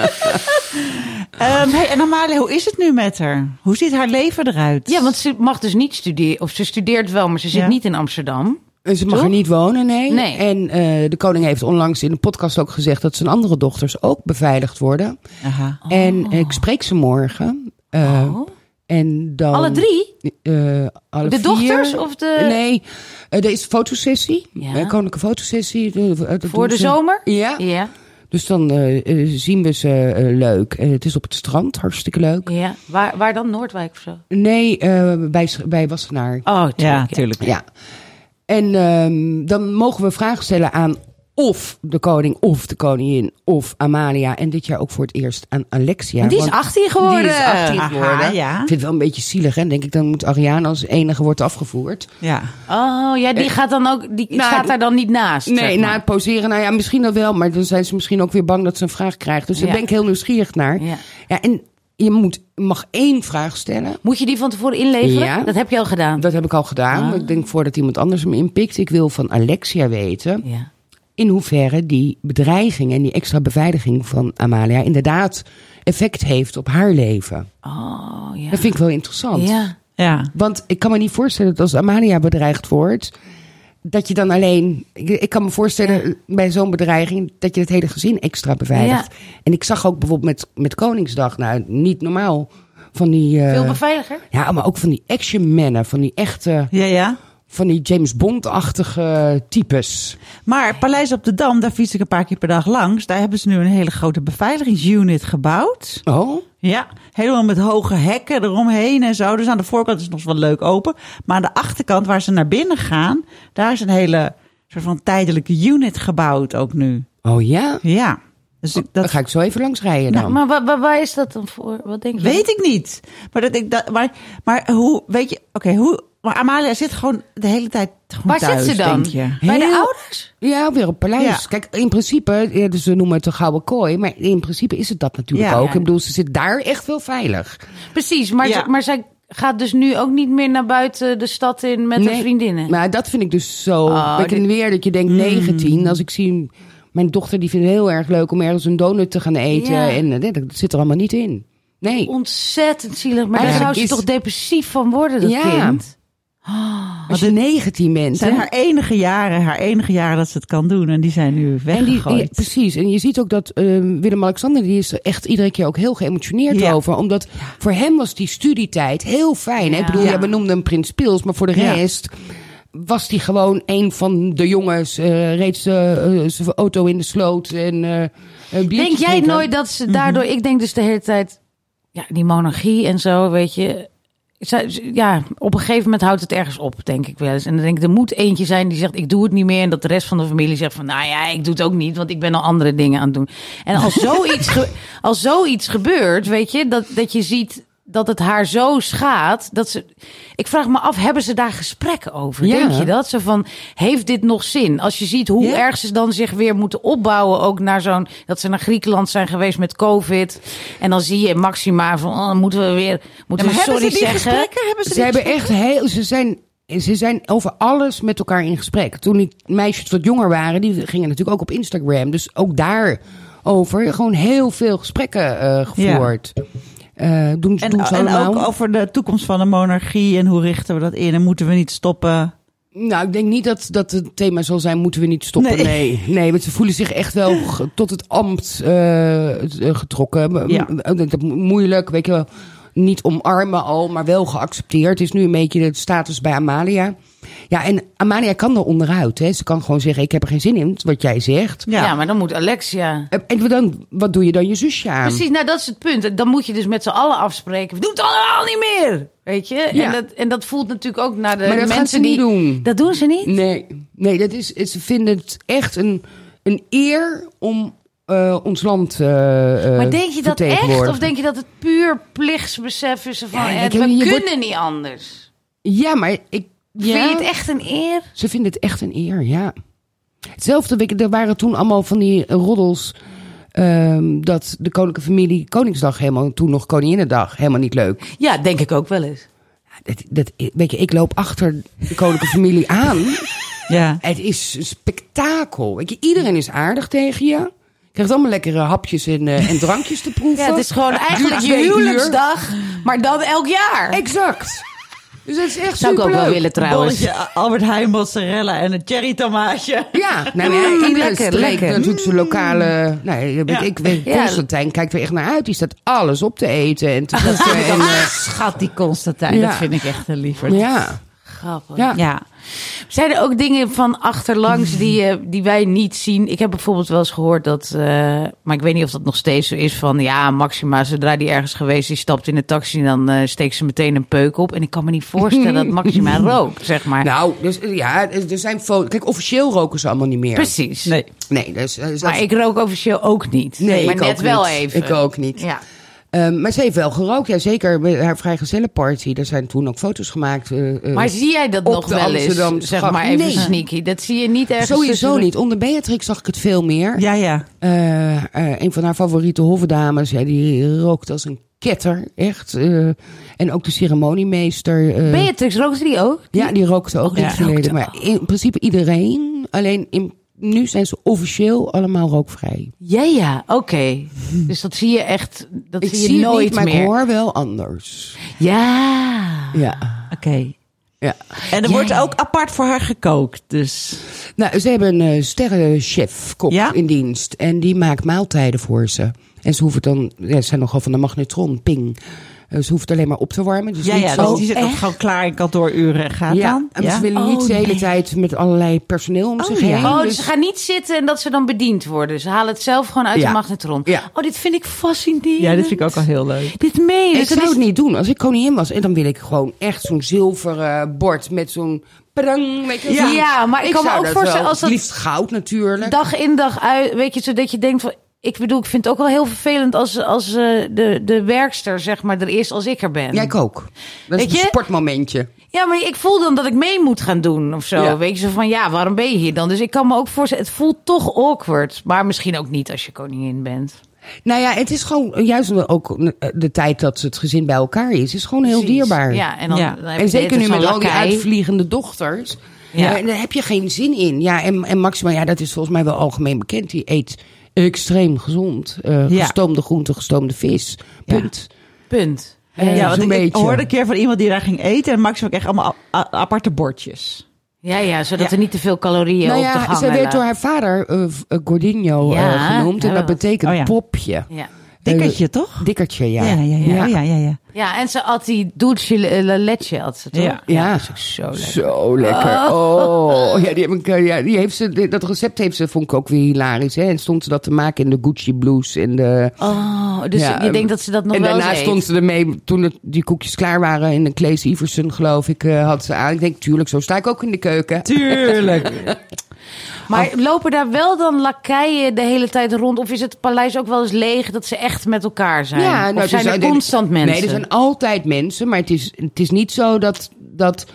S2: Ehm, hey, en Amalia, hoe is het nu met haar? Hoe ziet haar leven eruit?
S4: Ja, want ze mag dus niet studeren. Of ze studeert wel, maar ze zit
S2: Ja.
S4: niet in Amsterdam.
S3: En ze mag
S4: Toch?
S3: er niet wonen, nee.
S4: Nee.
S3: En eh, de koning heeft onlangs in een podcast ook gezegd dat zijn andere dochters ook beveiligd worden.
S2: Aha.
S3: En
S4: Oh.
S3: ik spreek ze morgen. eh, En dan,
S4: Alle drie?
S3: eh, alle
S4: De
S3: vier.
S4: dochters of de-
S3: Nee, eh, er is fotosessie.
S4: Ja.
S3: Eh, koninklijke fotosessie. eh, dat
S4: Voor
S3: doen
S4: de
S3: ze.
S4: zomer?
S3: Ja.
S4: Ja.
S3: Dus dan eh, eh, zien we ze eh, leuk. Eh, het is op het strand, hartstikke leuk.
S4: ja. Waar, waar dan? Noordwijk of zo?
S3: Nee, eh, bij, Sch- bij Wassenaar.
S4: Oh,
S2: Ja,
S4: ja.
S2: tuurlijk.
S3: Ja. En ehm, dan mogen we vragen stellen aan of de koning, of de koningin, of Amalia. En dit jaar ook voor het eerst aan Alexia.
S4: En die is
S3: want
S4: 18 geworden.
S3: Die is 18
S2: Aha,
S3: geworden.
S2: ja.
S3: Ik vind het wel een beetje zielig, hè? Denk ik, dan moet Ariane als enige wordt afgevoerd.
S2: Ja.
S4: Oh, ja, die gaat dan ook. Die
S3: Eh, nou,
S4: staat daar dan niet naast.
S3: Nee,
S4: zeg maar.
S3: na het poseren, nou ja, misschien dat wel. Maar dan zijn ze misschien ook weer bang dat ze een vraag krijgt. Dus daar
S4: Ja.
S3: ben ik heel nieuwsgierig naar.
S4: Ja.
S3: Ja, en je moet, mag één vraag stellen.
S4: Moet je die van tevoren inleveren?
S3: Ja.
S4: Dat heb je al gedaan.
S3: Dat heb ik al gedaan. maar Ik denk voordat iemand anders hem inpikt. Ik wil van Alexia weten.
S4: Ja.
S3: in hoeverre die bedreiging en die extra beveiliging van Amalia inderdaad effect heeft op haar leven.
S4: Oh, ja.
S3: Dat vind ik wel interessant.
S4: Ja.
S2: Ja.
S3: Want ik kan me niet voorstellen dat als Amalia bedreigd wordt, dat je dan alleen. Ik, ik kan me voorstellen bij zo'n bedreiging dat je het hele gezin extra beveiligt. En ik zag ook bijvoorbeeld met, met Koningsdag, nou niet normaal, van die. eh,
S4: Veel beveiliger.
S3: ja, maar ook van die action mannen, van die echte,
S2: Ja, ja.
S3: van die James Bond-achtige types.
S2: Maar Paleis op de Dam, daar fiets ik een paar keer per dag langs. Daar hebben ze nu een hele grote beveiligingsunit gebouwd.
S3: Oh.
S2: Ja, helemaal met hoge hekken eromheen en zo. Dus aan de voorkant is het nog wel leuk open. Maar aan de achterkant, waar ze naar binnen gaan, daar is een hele soort van tijdelijke unit gebouwd ook nu.
S3: Oh ja.
S2: Ja, dus ik,
S3: Dan
S2: dat
S3: ga ik zo even langs rijden dan.
S4: Nou, Maar wa- wa- waar is dat dan voor? Wat denk je?
S2: weet ik niet. Maar, dat ik, dat, maar, maar hoe, weet je, oké, hoe... Maar Amalia zit gewoon de hele tijd gewoon
S4: Waar
S2: thuis,
S4: zit ze dan?
S2: denk je.
S4: Bij de
S3: Heel-
S4: ouders?
S3: Ja, weer op paleis.
S2: Ja.
S3: Kijk, in principe, ja, dus ze noemen het de gouden kooi, maar in principe is het dat natuurlijk
S2: Ja.
S3: ook.
S2: Ja.
S3: Ik bedoel, ze zit daar echt wel veilig.
S4: Precies, maar,
S2: Ja.
S4: ze- maar zij gaat dus nu ook niet meer naar buiten de stad in met haar
S3: Nee,
S4: vriendinnen.
S3: Maar dat vind ik dus zo
S4: Oh,
S3: wekkend
S4: dit-
S3: weer, dat je denkt 19, als ik zie... Mijn dochter die vindt het heel erg leuk om ergens een donut te gaan eten.
S4: Ja.
S3: En eh, dat, dat zit er allemaal niet in. Nee.
S4: Ontzettend zielig. Maar daar
S3: Eigenlijk
S4: zou ze
S3: is-
S4: toch depressief van worden, dat
S3: Ja.
S4: kind? Oh.
S3: Als je 19
S2: Het
S3: bent.
S2: zijn
S3: hè?
S2: haar enige jaren, haar enige jaren dat ze het kan doen. En die zijn nu
S3: En die,
S2: weggegooid.
S3: ja, precies. En je ziet ook dat eh, Willem-Alexander, die is er echt iedere keer ook heel geëmotioneerd
S2: Ja.
S3: over. Omdat voor hem was die studietijd heel fijn. Hè? Ik bedoel,
S4: Ja.
S3: ja, we noemden hem Prins Pils, maar voor de
S2: Ja.
S3: rest was hij gewoon een van de jongens. eh reed eh, eh, zijn auto in de sloot en eh, een biertje
S4: Denk jij
S3: drinken.
S4: nooit dat
S3: Mhm.
S4: ze daardoor... Ik denk dus de hele tijd... Ja, die monarchie en zo, weet je... Zij- ze- Ja, op een gegeven moment houdt het ergens op, denk ik wel eens. En dan denk ik, er moet eentje zijn die zegt, ik doe het niet meer. En dat de rest van de familie zegt van, nou ja, ik doe het ook niet. Want ik ben al andere dingen aan het doen. En als zoiets, ge- als zoiets gebeurt, weet je, dat, dat je ziet... dat het haar zo schaadt. Dat ze, ik vraag me af, hebben ze daar gesprekken over?
S3: Ja.
S4: Denk je dat? Ze van, heeft dit nog zin? Als je ziet hoe
S2: Ja.
S4: erg ze dan zich weer moeten opbouwen. Ook naar zo'n, dat ze naar Griekenland zijn geweest met COVID. En dan zie je Maxima van, oh, moeten we weer, moeten
S2: maar
S4: we
S2: hebben
S4: sorry
S2: ze die
S4: zeggen?
S2: gesprekken? Hebben ze,
S3: Ze
S2: die
S3: hebben
S2: gesprekken?
S3: echt heel. Ze zijn, ze zijn over alles met elkaar in gesprek. Toen die meisjes wat jonger waren, die gingen natuurlijk ook op Instagram. Dus ook daarover gewoon heel veel gesprekken eh, gevoerd. Eh, doen, ze- doen ze
S2: En, en
S3: allemaal.
S2: ook over de toekomst van de monarchie en hoe richten we dat in en moeten we niet stoppen.
S3: Nou, ik denk niet dat, dat het thema zal zijn: moeten we niet stoppen?
S2: Nee.
S3: Nee, nee, want ze voelen zich echt wel ge- tot het ambt eh, getrokken. M-
S2: Ja.
S3: m- eh, dat- dat mo- Moeilijk, weet je wel. Niet omarmen al, maar wel geaccepteerd. Het is nu een beetje de status bij Amalia. Ja, en Amalia kan er onderuit. Hè. Ze kan gewoon zeggen: Ik heb er geen zin in, wat jij zegt.
S4: Ja. maar dan moet Alexia.
S3: Eh, En dan, wat doe je dan je zusje aan?
S4: Precies, nou dat is het punt. Dan moet je dus met z'n allen afspreken. We doen het allemaal niet meer. Weet je?
S3: Ja.
S4: En, dat, en dat voelt natuurlijk ook naar de
S3: Maar dat
S4: eh, mensen
S3: gaan ze
S4: die.
S3: niet doen.
S4: Dat doen ze niet?
S3: Nee, nee dat is, ze vinden het echt een, een eer om eh, ons land eh
S4: maar denk je dat echt? Of denk je dat het puur plichtsbesef is van
S3: Ja,
S4: eh,
S3: ik
S4: we
S3: heb- je
S4: kunnen
S3: wordt-
S4: niet anders?
S3: Ja, maar ik. Ja,
S4: Vind je het echt een eer?
S3: Ze vinden het echt een eer, ja. Hetzelfde, weet je, er waren toen allemaal van die eh, roddels. ehm, dat de koninklijke familie Koningsdag helemaal, toen nog Koninginnedag, helemaal niet leuk.
S4: Ja, denk ik ook wel eens.
S3: Dat, dat, weet je, ik loop achter de koninklijke familie aan.
S2: Ja.
S3: Het is een spektakel. Weet je, iedereen is aardig tegen je. Je krijgt allemaal lekkere hapjes en, eh, en drankjes te proeven.
S4: Ja, het is gewoon eigenlijk je
S3: twee uur.
S4: huwelijksdag, maar dan elk jaar.
S3: Exact. Dus dat is echt
S4: Zou ik ook wel
S3: superleuk.
S4: willen trouwens.
S2: Bolletje Albert Heijn mozzarella en een cherry tomaatje.
S3: Ja, nou ja,
S4: Mm,
S3: iedere
S4: lekker,
S3: streek
S4: lekker. Mm.
S3: natuurlijk zijn lokale... Nee, ik,
S2: Ja.
S3: ik weet,
S4: Ja.
S3: Constantijn kijkt er echt naar uit. Die staat alles op te eten en te proeven. en, eh,
S4: Schat die Constantijn,
S3: Ja.
S4: dat vind ik echt een lieverd.
S3: ja,
S4: Grappig.
S3: ja.
S2: Ja.
S4: Zijn er ook dingen van achterlangs die, eh, die wij niet zien? Ik heb bijvoorbeeld wel eens gehoord dat, eh, maar ik weet niet of dat nog steeds zo is, van ja, Maxima, zodra die ergens geweest is, stapt in de taxi, dan eh, steekt ze meteen een peuk op. En ik kan me niet voorstellen dat Maxima rookt, zeg maar.
S3: Nou, dus, eh, ja, er er zijn foto's. Kijk, officieel roken ze allemaal niet meer.
S4: Precies.
S2: Nee.
S3: Nee, dus, eh, zelfs-
S4: Maar ik rook officieel ook niet.
S3: nee,
S4: maar
S3: ik
S4: net
S3: ook
S4: wel
S3: niet.
S4: even.
S3: Ik ook niet.
S4: Ja.
S3: Ehm, maar ze heeft wel gerookt. Ja, zeker bij haar vrijgezellenparty. Daar zijn toen ook foto's gemaakt. eh, eh,
S4: Maar zie jij dat
S3: Op
S4: nog
S3: de
S4: wel eens?
S3: Amsterdamse
S4: Zeg
S3: gracht.
S4: maar even
S3: Nee.
S4: sneaky. Dat zie je niet ergens.
S3: Sowieso
S4: tussen-
S3: niet. Onder Beatrix zag ik het veel meer.
S2: Ja, ja.
S3: Eh, eh, een van haar favoriete hovendames, ja, die rookt als een ketter, echt. Eh, en ook de ceremoniemeester. eh,
S4: Beatrix rookt die ook?
S3: ja, die rookte ook
S4: Oh,
S3: in
S4: die
S3: het verleden.
S4: rookte
S3: Maar in principe iedereen. Alleen in, nu zijn ze officieel allemaal rookvrij.
S4: Ja, ja, oké. Dus dat zie je echt, dat zie je
S3: het
S4: nooit
S3: niet, maar
S4: meer.
S3: ik hoor wel anders.
S4: Ja.
S3: Ja.
S4: Ah.
S2: Oké.
S3: ja.
S2: En er
S4: Ja.
S2: wordt ook apart voor haar gekookt, dus...
S3: Nou, ze hebben een eh, sterrenchef kok
S2: Ja?
S3: in dienst. En die maakt maaltijden voor ze. En ze hoeven dan, ja, ze zijn nogal van de magnetron, ping. Eh, ze hoeven het alleen maar op te warmen. Dus
S2: Ja,
S3: niet
S2: ja,
S3: zo
S2: dus die zit ook
S4: echt?
S2: gewoon klaar in kantooruren en gaat dan.
S3: En ze willen
S4: Oh,
S3: niet de hele
S4: nee.
S3: tijd met allerlei personeel om zich
S2: ja.
S3: heen.
S4: Oh, dus
S3: dus-
S4: ze gaan niet zitten en dat ze dan bediend worden. Ze halen het zelf gewoon uit
S3: Ja.
S4: de magnetron.
S3: Ja.
S4: Oh, dit vind ik fascinerend.
S2: Ja, dit vind ik ook al heel leuk.
S4: Dit meen
S3: ik zou het niet doen. Als ik koningin was, en dan wil ik gewoon echt zo'n zilveren bord met zo'n prang. weet je wel.
S4: Ja. Ja, maar ik kan me
S3: zou
S4: ook
S3: dat
S4: voorstellen
S3: wel.
S4: als dat-
S3: Liefst goud natuurlijk.
S4: Dag in dag uit, weet je, zodat je denkt van... Ik bedoel, ik vind het ook wel heel vervelend als, als eh, de, de werkster zeg maar, er is als ik er ben.
S3: Ja, ik ook. Dat is
S4: Weet
S3: een
S4: je?
S3: sportmomentje.
S4: Ja, maar ik voel dan dat ik mee moet gaan doen of zo.
S3: Ja.
S4: Weet je, zo van ja, waarom ben je hier dan? Dus ik kan me ook voorstellen, het voelt toch awkward. Maar misschien ook niet als je koningin bent.
S3: Nou ja, het is gewoon juist omdat ook eh, de tijd dat het gezin bij elkaar is, is gewoon heel
S4: Precies.
S3: dierbaar.
S4: Ja, en, dan,
S2: Ja.
S4: dan heb je
S3: En zeker nu
S4: zo'n
S3: met al die
S4: lakai.
S3: uitvliegende dochters.
S4: Ja.
S3: Ja. daar heb je geen zin in. Ja, en, en Maxima, ja, dat is volgens mij wel algemeen bekend. Die eet extreem gezond. Eh,
S2: Ja.
S3: Gestoomde groente, gestoomde vis. Punt.
S4: Punt.
S3: Eh,
S2: ja, want
S3: zo'n
S2: ik, ik
S3: beetje.
S2: hoorde een keer van iemand die daar ging eten en Max ook echt allemaal a- a- aparte bordjes.
S4: Ja, ja, zodat er niet te veel calorieën
S3: Nou
S4: op te
S3: ja,
S4: gaan.
S3: ze werd door haar vader eh, v- eh, Gordinho eh,
S4: Ja,
S3: genoemd. En
S4: ja.
S3: dat betekent
S2: Oh ja.
S3: popje.
S4: Ja.
S2: Dikkertje, toch?
S3: Dikkertje, ja.
S2: Eh, Ja, ja, ja.
S3: Ja.
S2: Oh, ja, ja, ja.
S4: ja, en ze at die eh, dulce le leche, had ze toch?
S2: Ja.
S3: Ja.
S4: dat is ook zo lekker.
S3: Zo lekker. Oh, ja, die heb ik, eh, ja, die heeft ze, die- dat recept heeft ze, vond ik ook weer hilarisch. Hè? En stond ze dat te maken in de Gucci blues. En, de,
S4: Oh, dus
S3: Ja,
S4: je denkt dat ze dat nog
S3: en
S4: wel
S3: daarna
S4: eens eet.
S3: stond ze ermee, toen het, die koekjes klaar waren in een Klees Iverson, geloof ik, eh, had ze aan. Ik denk, tuurlijk, zo sta ik ook in de keuken.
S2: Tuurlijk.
S4: Maar
S3: Oh.
S4: lopen daar wel dan lakeien de hele tijd rond? Of is het paleis ook wel eens leeg dat ze echt met elkaar zijn?
S3: Ja, nou,
S4: of zijn
S3: dus,
S4: er
S3: eh,
S4: constant mensen?
S3: Nee, er zijn altijd mensen. Maar het is, het is niet zo dat, dat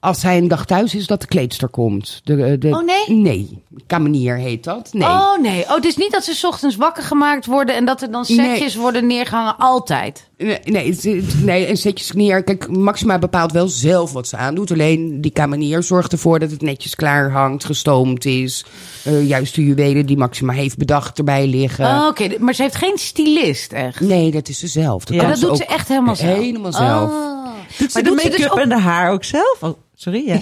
S3: als hij een dag thuis is, dat de kleedster komt. De, de,
S4: Oh, nee?
S3: Nee. Kamenier heet dat. Nee.
S4: Oh nee, oh, het is niet dat ze 's ochtends wakker gemaakt worden en dat er dan setjes worden neergehangen. Altijd.
S3: Nee, nee, het- het- nee, en setjes neer. Kijk, Maxima bepaalt wel zelf wat ze aandoet. Alleen die kamenier zorgt ervoor dat het netjes klaar hangt, gestoomd is. Eh, juist de juwelen die Maxima heeft bedacht erbij liggen.
S4: Oh, Oké, d- maar ze heeft geen stylist echt.
S3: Nee, dat is ze zelf. Dat,
S2: Ja.
S3: kan
S4: dat doet
S3: ook
S4: ze echt helemaal zelf.
S3: Helemaal zelf.
S4: Oh.
S2: Doet ze
S4: Maar
S2: de
S4: doet ze
S2: make-up
S4: dus ook-
S2: en de haar ook zelf? Oh, sorry, ja.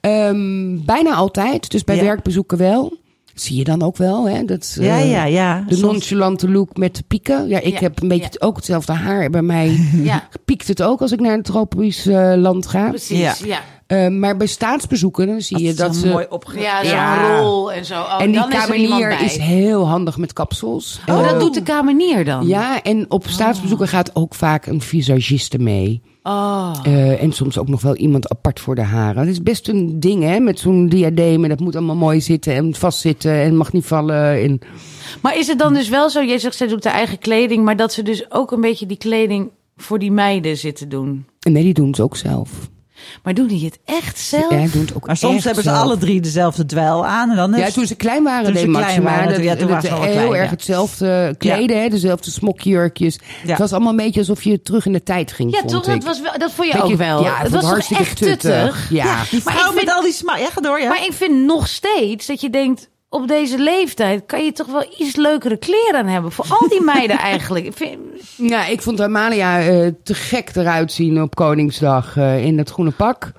S3: Ehm, bijna altijd, dus bij
S2: Ja.
S3: werkbezoeken wel. Zie je dan ook wel, hè? Dat, eh,
S2: Ja, ja, ja.
S3: De
S2: Soms-
S3: nonchalante look met de pieken. Ja, ik
S4: Ja,
S3: heb een beetje
S4: ja.
S3: het- ook hetzelfde haar. Bij mij
S4: Ja.
S3: piekt het ook als ik naar een tropisch eh, land ga.
S4: Precies,
S2: Ja.
S4: ja.
S3: Eh, maar bij staatsbezoeken dan zie je
S2: Dat
S3: dat
S2: is
S3: ze...
S2: mooi opge...
S4: Ja, zo'n
S3: Ja.
S4: rol en zo. Oh,
S3: en die
S4: dan is er iemand
S3: kamenier
S4: bij.
S3: is, heel handig met kapsels.
S4: Oh,
S3: Eh,
S4: dat doet de kamenier dan?
S3: Ja, en
S2: Oh.
S3: op staatsbezoeken gaat ook vaak een visagiste mee.
S4: Oh.
S3: Eh, en soms ook nog wel iemand apart voor de haren. Het is best een ding, hè, met zo'n diadeem. En dat moet allemaal mooi zitten en vastzitten en mag niet vallen. En...
S4: Maar is het dan dus wel zo, jij zegt ze doet haar eigen kleding, maar dat ze dus ook een beetje die kleding voor die meiden zit te doen?
S3: en Nee, die doen het ook zelf.
S4: Maar doen die het echt zelf?
S3: Ja, die doen het ook
S2: Maar soms
S3: echt
S2: hebben ze
S3: zelf.
S2: alle drie dezelfde dweil aan. En dan
S3: Ja, toen ze klein waren,
S2: toen
S3: deed
S2: ze klein
S3: Maxima
S2: waren,
S3: dat,
S2: toen- ja, toen
S3: dat
S2: waren ze wel
S3: heel
S2: klein,
S3: erg
S2: ja.
S3: hetzelfde kleden, hè, dezelfde smokjurkjes.
S2: Ja.
S3: Het was allemaal een beetje alsof je terug in de tijd ging,
S4: Ja,
S3: vond
S4: toch?
S3: ik.
S4: Dat, was wel, dat vond je
S3: Dat
S4: ook
S3: je-
S4: wel.
S3: Ja, ik
S4: het
S3: vond
S4: was
S3: het
S4: toch
S3: hartstikke
S4: echt tuttig?
S3: Ja.
S2: Die
S4: Maar
S2: vrouw
S4: ik vind-
S2: met al die smaak. Ja, ga door, ja.
S4: Maar ik vind nog steeds dat je denkt... Op deze leeftijd kan je toch wel iets leukere kleren aan hebben. Voor al die meiden eigenlijk. Ik vind-
S3: Ja, ik vond Amalia eh, te gek eruit zien op Koningsdag eh, in dat groene pak.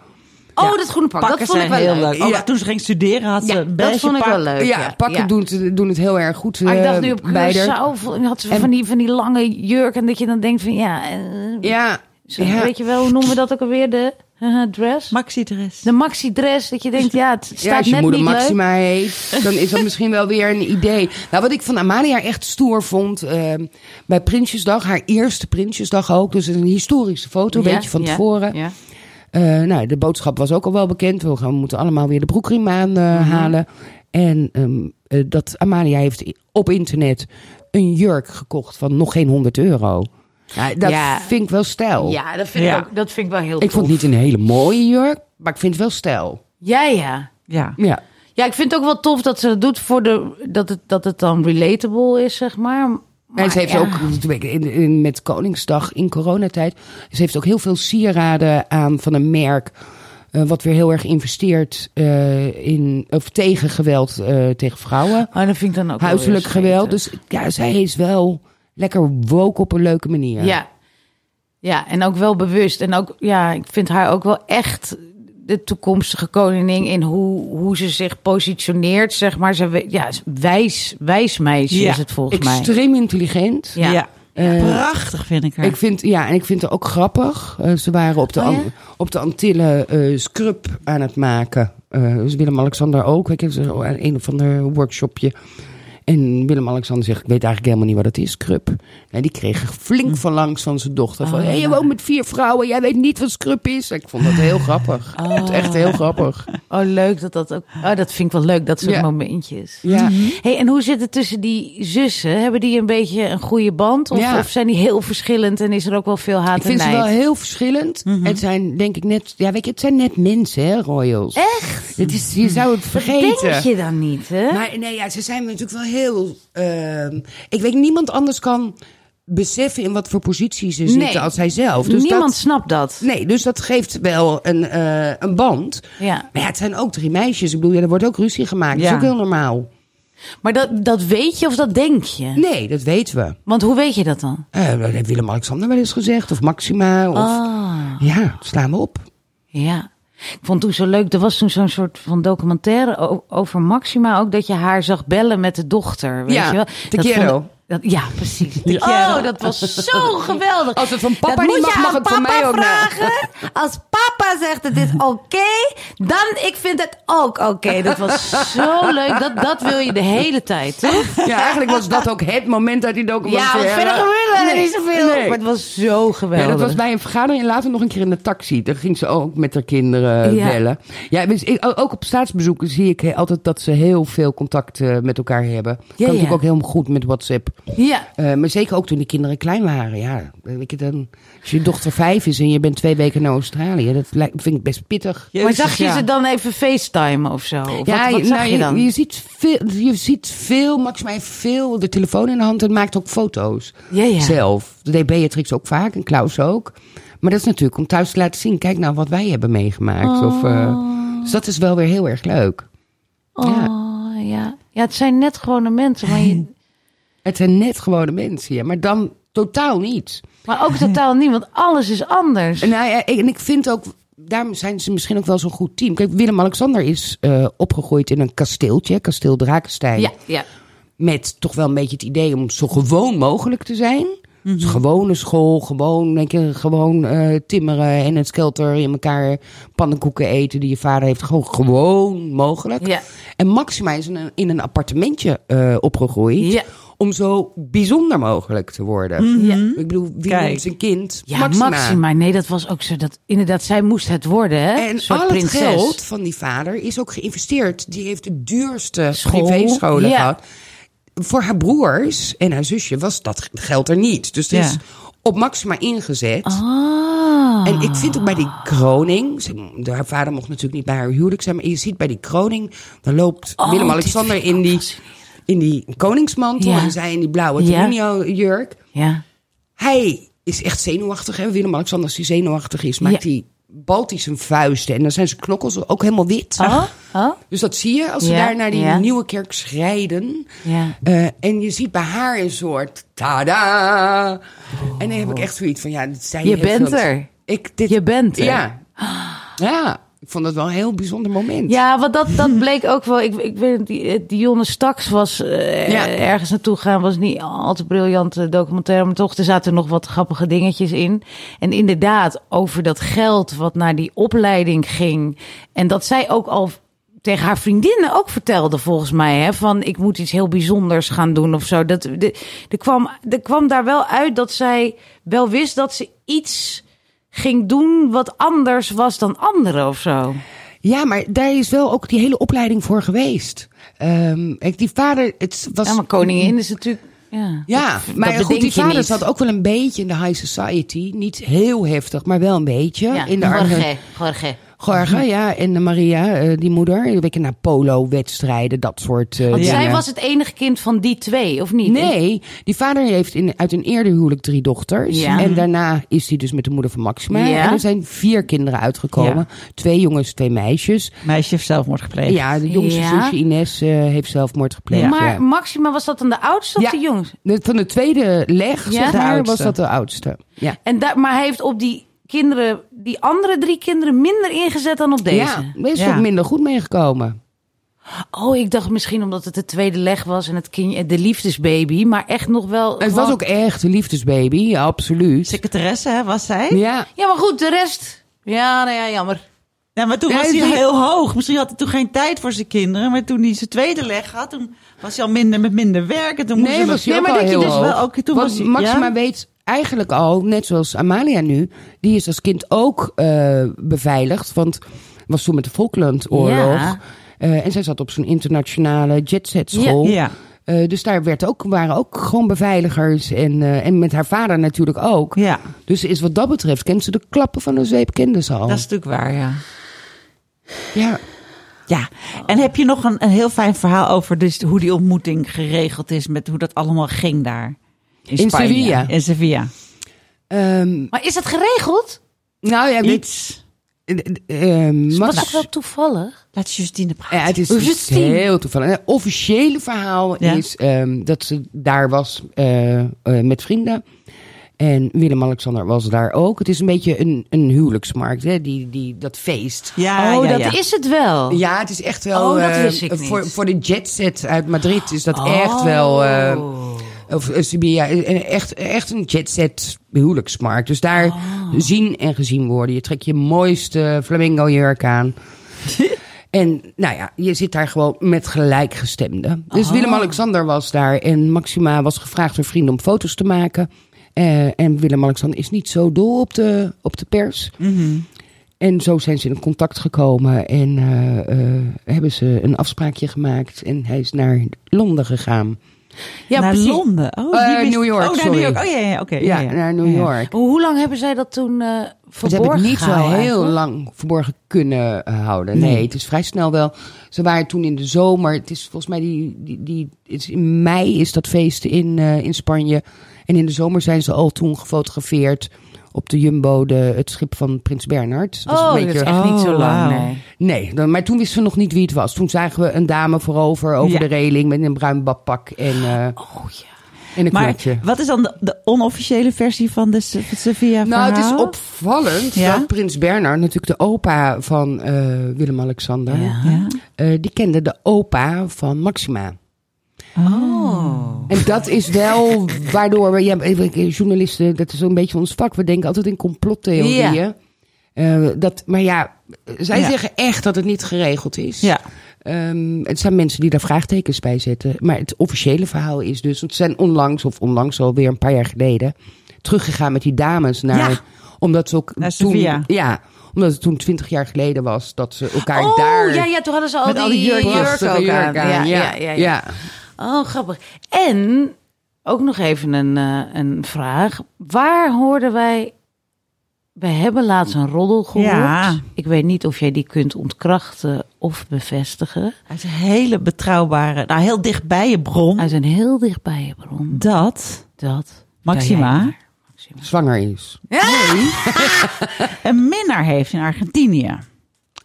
S4: Oh, dat groene pak. Dat
S2: Pakken
S4: vond ik
S2: zijn
S4: wel
S2: heel
S4: leuk.
S2: leuk. Ook toen ze ging studeren had ze
S4: Ja,
S2: een
S4: dat
S2: beige
S4: vond ik
S2: pak.
S4: wel leuk.
S3: ja, pakken Doen, het- doen het heel erg goed.
S4: Maar ik
S3: eh,
S4: dacht nu op
S3: beider.
S4: Curaçao vo- had ze
S3: En-
S4: van die, van die lange jurk. En dat je dan denkt van ja... eh,
S3: Ja,
S4: zo-
S3: ja.
S4: Weet je wel, hoe noemen we dat ook alweer? De eh, dress?
S2: Maxi dress.
S4: de maxi-dress. Dat je denkt, ja, het staat
S3: Ja, als je
S4: net
S3: moeder
S4: niet leuk.
S3: Maxima heet, dan is dat misschien wel weer een idee. Nou, wat ik van Amalia echt stoer vond, ehm, bij Prinsjesdag, haar eerste Prinsjesdag ook, dus het is een historische foto, weet je, van tevoren.
S4: Ja.
S3: Eh, nou, de boodschap was ook al wel bekend, we gaan- we moeten allemaal weer de broekriem aanhalen.
S4: Mhm.
S3: En ehm, eh, dat Amalia heeft i- op internet een jurk gekocht van nog geen 100 euro. Ja, dat
S4: Ja.
S3: vind ik wel stijl.
S4: Ja, dat vind,
S2: Ja.
S4: Ik ook, dat vind ik wel heel
S3: Oh. Ik vond
S4: tof.
S3: het niet een hele mooie jurk, maar ik vind het wel stijl.
S4: Ja, ja.
S2: Ja.
S3: Ja.
S4: Ja, ik vind het ook wel tof dat ze dat doet voor de, dat, het, dat het dan relatable is, zeg maar. Maar
S3: en ze heeft
S4: ja.
S3: ook, toen ik in, in- met Koningsdag in coronatijd, ze heeft ook heel veel sieraden aan van een merk. eh, wat weer heel erg investeert eh, in, of tegen geweld eh, tegen vrouwen.
S4: Oh, dat vind ik dan ook wel
S3: Huiselijk
S4: weer
S3: geweld.
S4: scheef.
S3: Dus ja, zij is wel lekker woke op een leuke manier.
S4: ja. ja, en ook wel bewust. En ook, ja, ik vind haar ook wel echt de toekomstige koningin in hoe, hoe ze zich positioneert, zeg maar. Ze, we- ja, wijs, wijs meisje
S2: Ja,
S4: is het volgens mij.
S3: Extreem intelligent.
S4: Ja.
S2: Ja.
S3: Eh,
S2: Prachtig vind ik haar.
S3: Ik vind, ja, en ik vind het ook grappig. Eh, ze waren op de,
S4: Oh,
S3: An-
S4: ja?
S3: op de Antillen eh, scrub aan het maken. Eh, dus Willem-Alexander ook. Ik heb ze aan een of ander workshopje. En Willem-Alexander zegt, ik weet eigenlijk helemaal niet wat het is, scrub. En die kreeg flink van langs van zijn dochter. Van,
S4: Hm. Oh,
S3: hey, je
S4: ja.
S3: woont met vier vrouwen, jij weet niet wat scrub is. Ik vond dat heel grappig. Ik vond het echt heel grappig.
S4: Oh, leuk dat dat ook... Oh, dat vind ik wel leuk, dat soort
S3: Ja.
S4: momentjes.
S3: Ja.
S4: Hey, en hoe zit het tussen die zussen? Hebben die een beetje een goede band? Of,
S3: Ja.
S4: of zijn die heel verschillend en is er ook wel veel haat
S3: Ik vind
S4: en
S3: ze
S4: nijd?
S3: wel heel verschillend.
S4: Mhm.
S3: Het zijn denk ik net, ja weet je, het zijn net mensen hè, royals.
S4: Echt?
S3: Het is, je zou het vergeten.
S4: Denk je dan niet, hè?
S3: Maar nee, ja, ze zijn natuurlijk wel heel. ehm, ik weet, niemand anders kan beseffen in wat voor positie ze zitten als zijzelf. Dus
S4: Niemand
S3: Dat,
S4: snapt dat.
S3: nee, dus dat geeft wel een, eh, een band.
S4: Ja.
S3: Maar ja, het zijn ook drie meisjes. Ik bedoel, ja, er wordt ook ruzie gemaakt. Dat
S2: Ja.
S3: is ook heel normaal.
S4: Maar dat, dat weet je of dat denk je?
S3: Nee, dat weten we.
S4: Want hoe weet je dat dan?
S3: Eh, dat heeft Willem-Alexander wel eens gezegd. Of Maxima. Of,
S4: Ah,
S3: Ja, slaan we op.
S4: ja. Ik vond toen zo leuk, er was toen zo'n soort van documentaire o- over Maxima ook, dat je haar zag bellen met de dochter, weet
S3: Ja,
S4: je wel?
S3: te
S4: Dat
S3: quiero.
S4: vond ik- dat- ja, precies. Te
S2: quiero.
S4: Oh, dat was zo geweldig.
S3: Als het van papa
S4: dat
S3: niet
S4: moet
S3: mag,
S4: je
S3: mag
S4: aan
S3: het van
S4: papa
S3: mij ook niet.
S4: vragen. Als papa zegt het is oké, dan ik vind het ook oké. Dat was zo leuk. Dat, dat wil je de hele tijd, toch?
S3: Ja, eigenlijk was dat ook het moment uit die
S4: Ja,
S3: documentaire.
S4: want verder gebeurde waren er
S3: Nee,
S4: niet zoveel.
S3: nee.
S4: Maar het was zo
S3: Ja,
S4: geweldig.
S3: dat was bij een vergadering en later nog een keer in de taxi. Daar ging ze ook met haar kinderen
S4: Ja.
S3: bellen. Ja, dus ik- o- ook op staatsbezoeken zie ik he- altijd dat ze heel veel contact eh, met elkaar hebben. kan
S4: ja.
S3: natuurlijk ook heel goed met WhatsApp.
S4: Ja.
S3: Eh, maar zeker ook toen die kinderen klein waren. Ja, weet je, dan, als je dochter vijf is en je bent twee weken naar Australië, dat lijkt, vind ik best pittig.
S4: maar
S2: Jezus,
S4: zag je
S2: ja.
S4: ze dan even facetimen of zo? Of wat, wat zag
S3: nou,
S4: je dan?
S3: Je, ziet veel, je ziet veel, Max mij veel de telefoon in de hand en maakt ook foto's
S4: Ja, ja.
S3: zelf. Dat deed Beatrix ook vaak en Klaus ook. Maar dat is natuurlijk om thuis te laten zien, kijk nou wat wij hebben meegemaakt. Of, eh, dus dat is wel weer heel erg leuk. Ja.
S4: Oh, ja. ja, het zijn net gewone mensen. Maar, je,
S3: Het zijn net gewone mensen, ja, maar dan totaal niet.
S4: maar ook totaal niet, want alles is anders.
S3: En, nou ja, ik, en ik vind ook, daarom zijn ze misschien ook wel zo'n goed team. Kijk, Willem-Alexander is eh, opgegroeid in een kasteeltje, kasteel Drakenstein.
S4: Ja, ja.
S3: met toch wel een beetje het idee om zo gewoon mogelijk te zijn.
S4: Mhm.
S3: Dus gewone school, gewoon, denk je, gewoon eh, timmeren en het skelter in elkaar pannenkoeken eten die je vader heeft. Gewoon, gewoon mogelijk.
S4: Ja.
S3: En Maxima is in een, in een appartementje eh, opgegroeid.
S4: Ja.
S3: Om zo bijzonder mogelijk te worden.
S4: Ja.
S3: Ik bedoel, wie
S2: Kijk.
S3: noemt zijn kind?
S4: Mhm. Ja, Maxima. Nee, dat was ook zo. Dat, inderdaad, zij moest het worden, hè?
S3: En
S4: Een soort
S3: al
S4: prinses.
S3: het geld van die vader is ook geïnvesteerd. Die heeft de duurste
S4: School.
S3: privéscholen
S4: Ja.
S3: gehad. Voor haar broers en haar zusje was dat geld er niet. Dus het
S2: Ja.
S3: is op Maxima ingezet.
S4: Ah.
S3: En ik vind ook bij die kroning... ze- haar vader mocht natuurlijk niet bij haar huwelijk zijn... maar je ziet bij die kroning... dan loopt
S4: Oh,
S3: Willem-Alexander
S4: dit vind
S3: in
S4: ik
S3: die,
S4: ook
S3: in die koningsmantel...
S4: Ja.
S3: en zij in die blauwe
S4: Ja.
S3: jurk
S4: Ja.
S3: hij is echt zenuwachtig. Hè? Willem-Alexander, als hij zenuwachtig is, maakt
S4: Ja.
S3: hij baltisch zijn vuisten. En dan zijn zijn knokkels ook helemaal wit.
S4: Oh, oh.
S3: Dus dat zie je als ze
S4: Ja,
S3: daar naar die
S4: ja.
S3: nieuwe kerk schrijden.
S4: Ja.
S3: Eh, en je ziet bij haar een soort tada. En dan heb ik echt zoiets van, ja, dit zijn
S4: Je
S3: heel
S4: bent
S3: veel-
S4: er.
S3: Ik, dit,
S4: Je bent er.
S3: Ja. ja, ik vond dat wel een heel bijzonder moment.
S4: Ja, want dat, dat bleek ook wel. Ik, ik weet het, die, eh, Dionne Staks was eh,
S3: Ja.
S4: ergens naartoe gegaan. Was niet al te briljante documentaire. Maar toch, er zaten nog wat grappige dingetjes in. En inderdaad, over dat geld wat naar die opleiding ging. En dat zij ook al tegen haar vriendinnen ook vertelde, volgens mij. Hè, van ik moet iets heel bijzonders gaan doen of zo. Dat, de, er, kwam, er kwam daar wel uit dat zij wel wist dat ze iets ging doen wat anders was dan anderen of zo.
S3: Ja, maar daar is wel ook die hele opleiding voor geweest. Ehm, kijk, die vader, het was...
S4: Ja, maar koningin is natuurlijk. Ja,
S3: Ja,
S4: dat-
S3: maar
S4: dat
S3: goed,
S4: bedenk
S3: die
S4: je
S3: vader
S4: niet.
S3: zat ook wel een beetje in de high society. Niet heel heftig, maar wel een beetje.
S4: Ja,
S3: in de
S4: Jorge,
S3: arme-
S4: Jorge.
S3: Gorga, ja. En de Maria, eh, die moeder. Een beetje naar polo-wedstrijden, dat soort eh,
S4: Want
S3: dingen.
S4: zij was het enige kind van die twee, of niet?
S3: Nee, die vader heeft in, uit een eerder huwelijk drie dochters.
S4: Ja.
S3: En daarna is hij dus met de moeder van Maxima.
S4: Ja.
S3: En er zijn vier kinderen uitgekomen. Twee jongens, twee meisjes.
S2: Meisje heeft zelfmoord gepleegd.
S3: Ja, de jongste
S4: Ja.
S3: zusje Ines eh, heeft zelfmoord gepleegd.
S4: Maar
S3: ja.
S4: Maxima was dat dan de oudste of
S3: Ja.
S4: de jongste?
S3: De- Van de tweede leg,
S4: Ja.
S3: zeg
S4: De
S3: maar, was
S2: oudste.
S3: dat de oudste. Ja.
S4: En daar, maar hij heeft op die kinderen, die andere drie kinderen, minder ingezet dan op deze.
S3: Ja, daar is
S2: Ja.
S3: ook minder goed meegekomen.
S4: Oh, ik dacht misschien omdat het de tweede leg was en het kind, de liefdesbaby, maar echt nog wel.
S3: Het was
S4: gewoon-
S3: ook echt een liefdesbaby, ja, absoluut.
S2: Secretaresse hè, was zij. Ja,
S3: Ja.
S4: Ja, maar goed, de rest. Ja, nou ja, jammer.
S2: maar toen
S3: Ja,
S2: was
S3: die-
S2: hij al heel hoog. Misschien had hij toen geen tijd voor zijn kinderen. Maar toen hij zijn tweede leg had, toen was hij al minder met minder werk. En toen moest
S3: Nee,
S2: hij
S3: was hij ook
S2: maar
S3: al
S2: dat je
S3: heel
S2: dus
S3: hoog.
S2: wel ook... Toen
S3: Want
S2: was hij,
S3: Maxima
S2: ja?
S3: weet eigenlijk al, net zoals Amalia nu, die is als kind ook eh, beveiligd. Want was toen met de Falklandoorlog.
S4: Ja.
S3: Eh, en zij zat op zo'n internationale jetset school.
S2: Ja, ja.
S3: Eh, dus daar werd ook, waren ook gewoon beveiligers. En, eh, en met haar vader natuurlijk ook.
S2: Ja,
S3: Dus ze is wat dat betreft, kent ze de klappen van de zweep, kende ze al.
S2: dat is natuurlijk waar, ja.
S3: Ja.
S2: Ja, en heb je nog een, een heel fijn verhaal over dus hoe die ontmoeting geregeld is, met hoe dat allemaal ging daar? In, Spanje.
S3: Sevilla.
S2: In Sevilla.
S3: Ehm,
S4: Maar is dat geregeld?
S3: nou ja, dit,
S2: Iets.
S3: eh, Max-
S4: Was dat wel toevallig?
S2: Laat Justine praten.
S3: Ja, het is
S4: Hoe is
S3: dus
S4: het team?
S3: heel toevallig. Het officiële verhaal
S2: Ja.
S3: is ehm, dat ze daar was eh, eh, met vrienden. En Willem-Alexander was daar ook. Het is een beetje een, een huwelijksmarkt, hè? Die, die, dat feest.
S2: Ja,
S4: oh,
S2: ja,
S4: dat
S2: ja.
S4: is het wel.
S3: Ah, Ja, het is echt wel.
S4: Oh, dat
S3: eh,
S4: wist ik niet. Oh.
S3: Voor, voor de jetset uit Madrid is dat echt wel. eh, of eh, Sevilla, eh, echt, echt een jetset huwelijksmarkt. Dus daar
S4: Oh.
S3: zien en gezien worden. Je trekt je mooiste flamingo jurk aan. en nou ja, je zit daar gewoon met
S4: Oh.
S3: gelijkgestemden. Dus Willem-Alexander was daar en Maxima was gevraagd door vrienden om foto's te maken. Eh, en Willem-Alexander is niet zo dol op de, op de pers. En zo zijn ze in contact gekomen en eh, eh, hebben ze een afspraakje gemaakt. En hij is naar Londen gegaan.
S4: Ja,
S2: naar
S4: precies.
S2: Londen. Oh,
S3: Eh,
S2: die wist-
S3: New York,
S2: Oh, naar
S3: sorry.
S2: New York. Oh ja, ja, ja, oké.
S3: Ja, naar New
S2: Ja, ja.
S3: York.
S4: Hoe, hoe lang hebben zij dat toen eh
S3: Dat heb
S4: verborgen
S3: ik niet zo
S4: gehouden
S3: heel
S4: eigenlijk?
S3: lang verborgen kunnen eh, houden. Nee. het is vrij snel wel. Ze waren toen in de zomer. Het is volgens mij die, die, die het is in mei is dat feest in, eh, in Spanje. En in de zomer zijn ze al toen gefotografeerd op de Jumbo, de, het schip van Prins Bernhard. Dat is
S4: Oh,
S3: een
S4: dat
S3: beetje-
S4: is echt niet zo
S2: Oh,
S4: lang.
S2: wauw.
S4: Nee.
S3: Nee, dan- maar toen wisten we nog niet wie het was. Toen zagen we een dame voorover over
S2: Ja. Oh,
S3: de reling met een bruin badpak en, eh, en een kleurtje.
S2: Maar wat is dan de, de onofficiële versie van de Sophia
S3: Nou, het is opvallend
S2: Ja.
S3: dat Prins Bernhard, natuurlijk de opa van eh, Willem-Alexander,
S2: Ja.
S3: eh, die kende de opa van Maxima.
S2: Oh.
S3: En dat is wel waardoor we, ja, we- journalisten, dat is zo'n beetje ons vak. We denken altijd in complottheorieën.
S4: Ja.
S3: Eh, dat, maar ja, zij
S2: Ja.
S3: zeggen echt dat het niet geregeld is.
S2: Ja.
S3: Ehm, het zijn mensen die daar vraagtekens bij zetten. Maar het officiële verhaal is dus... want ze zijn onlangs, of onlangs alweer een paar jaar geleden... teruggegaan met die dames naar...
S2: Ja.
S3: Omdat ze ook
S2: Naar
S3: toen...
S2: Sevilla.
S3: Ja, omdat het toen twintig jaar geleden was dat ze elkaar
S4: Oh,
S3: daar...
S4: ja, ja, toen hadden ze al
S3: met
S4: die, eh,
S3: al die jurken,
S4: jurken ook aan. Ja, ja, ja, ja.
S3: ja.
S4: Oh, grappig. En ook nog even een, eh, een vraag. Waar hoorden wij... We hebben laatst een roddel gehoord.
S2: Ja.
S4: Ik weet niet of jij die kunt ontkrachten of bevestigen.
S2: Hij is een hele betrouwbare, nou heel dichtbij je bron,
S4: Uit een heel dichtbij je bron.
S2: dat
S4: Dat.
S2: Maxima.
S4: Ja, ja.
S3: Zwanger is.
S2: een minnaar heeft in Argentinië.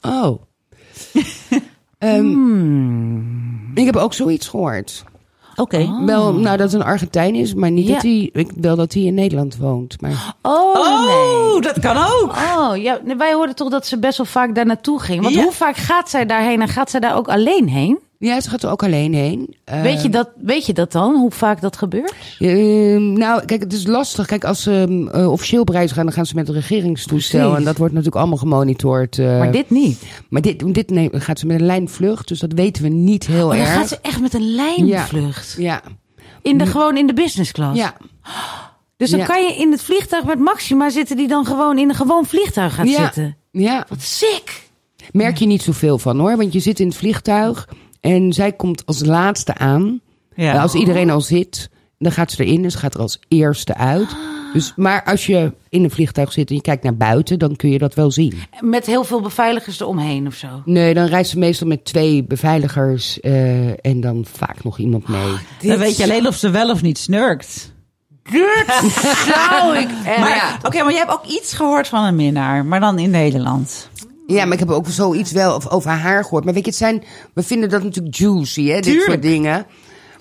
S3: Oh. Ehm,
S4: Hmm.
S3: Ik heb ook zoiets gehoord.
S2: Oké.
S3: Wel, nou dat het een Argentijn is, maar niet
S4: Oh. Ja.
S3: dat hij... ik- Wel dat hij in Nederland woont. Maar...
S4: Oh, nee.
S2: Oh, dat kan ook.
S4: Oh, ja, nee, wij hoorden toch dat ze best wel vaak daar naartoe ging. Want
S2: Ja.
S4: hoe vaak gaat zij daarheen en gaat zij daar ook alleen heen?
S3: Ja, ze gaat er ook alleen heen. Eh,
S4: weet, je dat, weet je dat dan, hoe vaak dat gebeurt?
S3: Ehm, nou, kijk, het is lastig. Kijk, als ze ehm, eh, officieel op reis gaan, dan gaan ze met een regeringstoestel.
S4: Precies.
S3: En dat wordt natuurlijk allemaal gemonitord. eh.
S4: Maar dit niet.
S3: maar dit, dit nee, gaat ze met een lijnvlucht, dus dat weten we niet heel
S4: Maar Oh, dan
S3: erg.
S4: gaat ze echt met een lijnvlucht.
S3: Ja,
S4: In de, gewoon in de business class.
S3: ja.
S4: Dus dan
S3: Ja.
S4: kan je in het vliegtuig met Maxima zitten... die dan gewoon in een gewoon vliegtuig gaat
S3: ja.
S4: zitten.
S3: Ja,
S4: Wat sick!
S3: merk je niet zoveel van hoor. Want je zit in het vliegtuig en zij komt als laatste aan.
S2: Ja.
S3: Als iedereen al zit, dan gaat ze erin en ze gaat er als eerste uit.
S4: Ah.
S3: Dus, maar als je in een vliegtuig zit en je kijkt naar buiten, dan kun je dat wel zien.
S4: Met heel veel beveiligers eromheen of zo.
S3: Nee, dan reist ze meestal met twee beveiligers eh, en dan vaak nog iemand mee.
S2: Dan weet je alleen of ze wel of niet snurkt.
S4: zou ik
S2: Maar Oké, maar jij hebt ook iets gehoord van een minnaar, maar dan in Nederland.
S3: Ja, maar ik heb ook zoiets wel of- over haar gehoord. Maar weet je, het zijn, we vinden dat natuurlijk juicy, hè, dit soort dingen.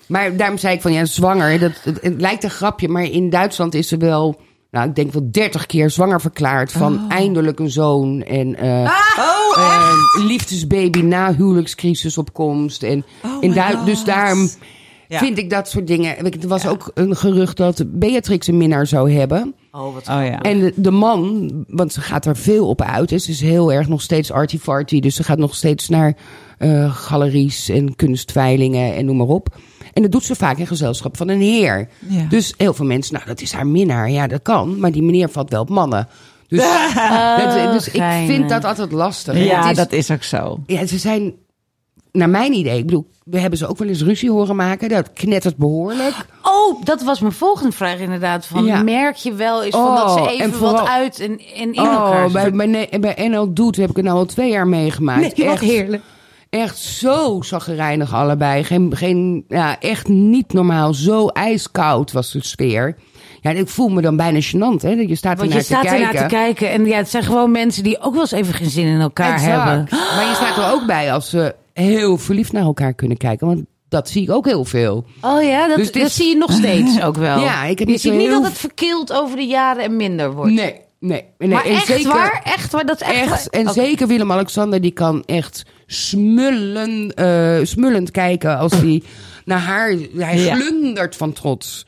S3: Maar daarom zei ik van, ja, zwanger, dat, het, het lijkt een grapje. Maar in Duitsland is ze wel, nou, ik denk wel dertig keer zwanger verklaard van eindelijk een zoon. En eh,
S2: Oh,
S3: eh, liefdesbaby na huwelijkscrisis op komst. En in
S2: Oh my
S3: Duits- dus
S2: God.
S3: daarom
S2: Ja.
S3: vind ik dat soort dingen. Weet je, Er was ook een gerucht dat Beatrix een minnaar zou hebben.
S2: Oh ja.
S3: En de, de man, want ze gaat er veel op uit. hè, Ze is heel erg nog steeds arty-farty. Dus ze gaat nog steeds naar eh, galeries en kunstveilingen en noem maar op. En dat doet ze vaak in gezelschap van een heer.
S2: Ja.
S3: Dus heel veel mensen, nou dat is haar minnaar. Ja, dat kan. Maar die meneer valt wel op mannen. Dus, dat- dus ik
S4: geinig.
S3: vind dat altijd lastig. En
S2: ja,
S3: het
S4: dus
S3: is-
S2: dat is ook zo.
S3: ja, ze zijn, naar mijn idee, ik bedoel, we hebben ze ook wel eens ruzie horen maken. Dat knettert behoorlijk.
S4: Oh, dat was mijn volgende vraag inderdaad. Van,
S3: Ja.
S4: Merk je wel eens van
S3: Oh,
S4: dat ze even
S3: en vooral-
S4: wat uit en, en in elkaar
S3: Oh, bij,
S4: zitten?
S3: bij, ne- bij NL Doet heb ik het nou al twee jaar meegemaakt.
S4: Nee, wat
S3: echt,
S4: heerlijk.
S3: Echt zo zaggerijnig allebei. Geen, geen, ja, echt niet normaal. Zo ijskoud was de sfeer. Ja, ik voel me dan bijna gênant. Hè? dat Je staat
S4: Want
S3: ernaar
S4: je
S3: te
S4: staat
S3: kijken.
S4: ernaar te kijken en ja, het zijn gewoon mensen die ook wel eens even geen zin in elkaar
S3: Exact.
S4: hebben.
S3: Maar je staat er ook bij als ze heel verliefd naar elkaar kunnen kijken. Want dat zie ik ook heel veel.
S4: Oh ja, dat,
S3: Dus dit-
S4: dat zie je nog steeds ook wel.
S3: Ja, ik heb
S4: je
S3: niet zo
S4: ziet niet
S3: heel-
S4: dat het verkeeld over de jaren en minder wordt.
S3: Nee, nee. nee.
S4: maar
S3: En
S4: echt
S3: zeker-
S4: waar, echt waar, dat is echt,
S3: Echt,
S4: waar.
S3: en
S4: Oké.
S3: zeker Willem-Alexander, die kan echt smullen, eh, smullend kijken als hij naar haar... Hij
S2: Ja.
S3: glundert van trots.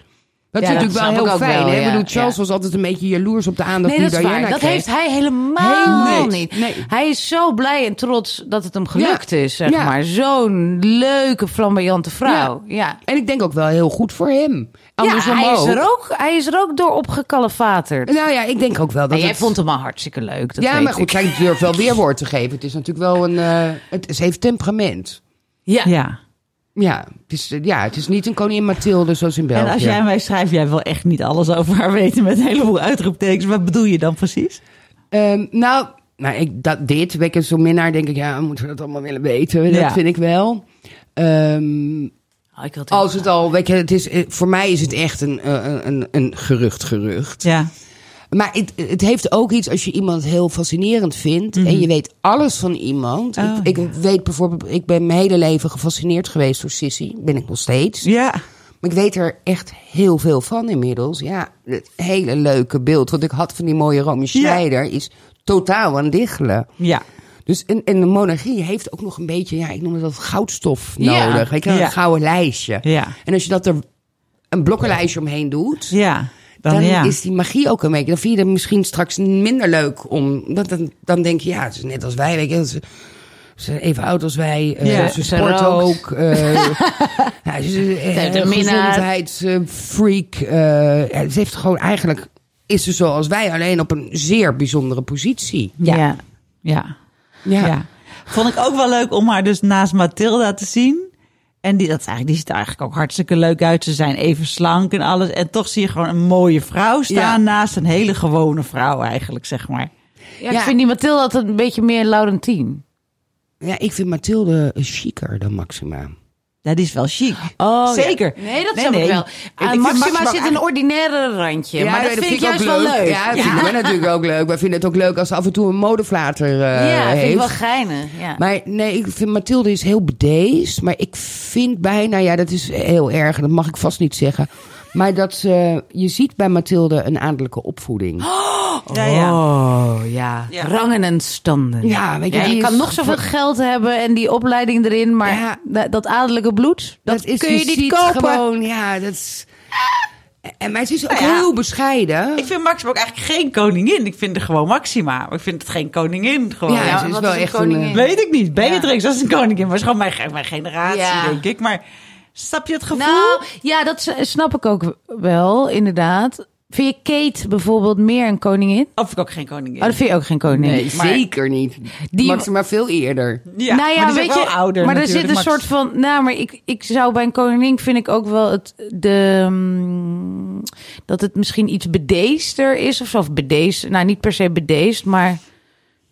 S3: Dat
S4: Ja,
S3: is
S4: dat
S3: natuurlijk wel
S4: snap ik
S3: heel
S4: ook
S3: fijn. hè?
S4: wel, ja,
S3: Ik bedoel, Charles
S4: ja.
S3: was altijd een beetje jaloers op de aandacht die
S4: Nee, dat is
S3: Diana
S4: waar. Dat
S3: kreeg.
S4: heeft hij helemaal
S3: Helemaal niet.
S4: niet.
S3: Nee.
S4: Hij is zo blij en trots dat het hem gelukt
S3: Ja.
S4: is, zeg
S3: Ja.
S4: maar. Zo'n leuke, flamboyante vrouw. Ja.
S3: En ik denk ook wel heel goed voor hem. Andersom
S4: ja, hij
S3: ook.
S4: is, er ook, hij is er ook door opgekalefaterd.
S3: Nou ja, ik denk ook wel dat
S4: En jij
S3: het-
S4: vond hem al hartstikke leuk. Dat
S3: Ja,
S4: weet
S3: maar goed,
S4: ik.
S3: zij durft wel weerwoord te geven. Het is natuurlijk wel een... eh, het, ze heeft temperament.
S4: Ja.
S2: Ja.
S3: Ja, het is, eh, ja, het is niet een koningin Mathilde zoals in België.
S2: En als jij mij schrijft, jij wil echt niet alles over haar weten met een heleboel uitroeptekens. Wat bedoel je dan precies?
S3: Ehm, nou, nou ik, dat, dit, wekken zo'n minnaar, denk ik, ja, moeten we dat allemaal willen weten? Dat
S2: Ja.
S3: vind ik wel. Ehm,
S4: Oh, ik wil het
S3: als het al, weet je, het is, eh, voor mij is het echt een, eh, een, een gerucht, gerucht.
S2: Ja.
S3: Maar het, het heeft ook iets als je iemand heel fascinerend vindt en je weet alles van iemand.
S2: Mhm. Oh,
S3: ik, ik weet bijvoorbeeld, ik ben mijn hele leven gefascineerd geweest door Sissy, ben ik nog steeds.
S2: Ja.
S3: Maar ik weet er echt heel veel van inmiddels. Ja, het hele leuke beeld wat ik had van die mooie Romy Schneider is totaal aan het diggelen.
S2: Ja.
S3: Dus en, en de monarchie heeft ook nog een beetje, ja, ik noem dat goudstof
S4: Ja.
S3: nodig. Weet je, wel, een
S2: Ja.
S3: gouden lijstje.
S2: Ja.
S3: En als je dat er een blokkenlijstje omheen doet,
S2: Ja. Dan,
S3: dan,
S2: ja.
S3: is die magie ook een beetje. Dan vind je het misschien straks minder leuk om. Dan, dan, dan denk je, ja, het is net als wij. Weet je, ze, ze is even oud als wij. eh,
S2: Ja,
S3: ze
S4: ze
S3: sport
S4: rookt.
S3: ook. eh, ja, ze is eh,
S4: heeft
S3: een
S4: een minnaar.
S3: gezondheidsfreak. eh, ja, ze heeft gewoon eigenlijk. Is ze zoals wij, alleen op een zeer bijzondere positie.
S4: Ja.
S2: Ja. Ja.
S3: Ja.
S2: Ja. Vond ik ook wel leuk om haar dus naast Mathilda te zien. En die, dat is eigenlijk, die ziet er eigenlijk ook hartstikke leuk uit. Ze zijn even slank en alles. En toch zie je gewoon een mooie vrouw staan
S3: Ja.
S2: naast een hele gewone vrouw eigenlijk, zeg maar.
S4: Ja, ik
S3: Ja.
S4: vind die Mathilde altijd een beetje meer Laurentien.
S3: Ja, ik vind Mathilde chiquer dan Maxima.
S2: Ja, die is wel chic.
S4: Oh,
S2: Zeker.
S4: Nee, dat
S2: Nee,
S4: snap
S2: nee.
S4: ik wel. Aan
S2: vind
S4: Maxima,
S2: Maxima
S4: zit een ordinaire randje. maar dat,
S3: nee,
S4: vind ik juist wel leuk.
S3: Ja, dat vinden wij natuurlijk ook leuk. Wij vinden het ook leuk als ze af en toe een modeflater eh
S4: Ja, vind ik
S3: heeft.
S4: wel geinig. Ja.
S3: Maar nee, ik vind Mathilde is heel bedeesd. Maar ik vind bijna, ja, dat is heel erg. en Dat mag ik vast niet zeggen. Maar dat ze, je ziet bij Mathilde een adellijke opvoeding.
S2: Ja, ja.
S4: Oh ja. rangen en standen.
S3: Ja, weet je,
S4: Ja,
S3: die
S4: je
S3: is-
S4: kan nog zoveel geld hebben en die opleiding erin, maar
S3: Ja.
S4: da- dat adellijke bloed, dat, kun je niet
S3: ziet
S4: kopen.
S3: Gewoon, ja, dat is. En, maar ze is ook
S2: Nou ja.
S3: heel bescheiden.
S2: Ik vind Maxima ook eigenlijk geen koningin. Ik vind haar gewoon Maxima. Maar ik vind het geen koningin gewoon.
S3: ja,
S4: Ja,
S3: ze is
S4: wat
S3: wel
S4: is een
S3: echt
S4: koningin?
S3: een. eh,
S2: Weet ik niet. Beatrix, dat is een koningin. Maar is gewoon mijn, mijn generatie,
S4: Ja.
S2: denk ik. Maar snap je het gevoel?
S4: Nou, ja, dat s- snap ik ook wel, inderdaad. Vind je Kate bijvoorbeeld meer een koningin?
S2: Of ik ook geen koningin.
S4: Oh, dat vind je ook geen koningin.
S3: Nee, zeker niet.
S4: Die-
S3: Maxima veel eerder.
S2: Ja,
S4: nou ja,
S2: maar die is
S4: weet
S2: ook wel
S4: je,
S2: ouder
S4: maar er zit
S2: natuurlijk,
S4: een
S2: Max.
S4: soort van. Nou, maar ik, ik zou bij een koningin vind ik ook wel het de mm, dat het misschien iets bedeesder is of zo. Of bedeesd, nou niet per se bedeesd, maar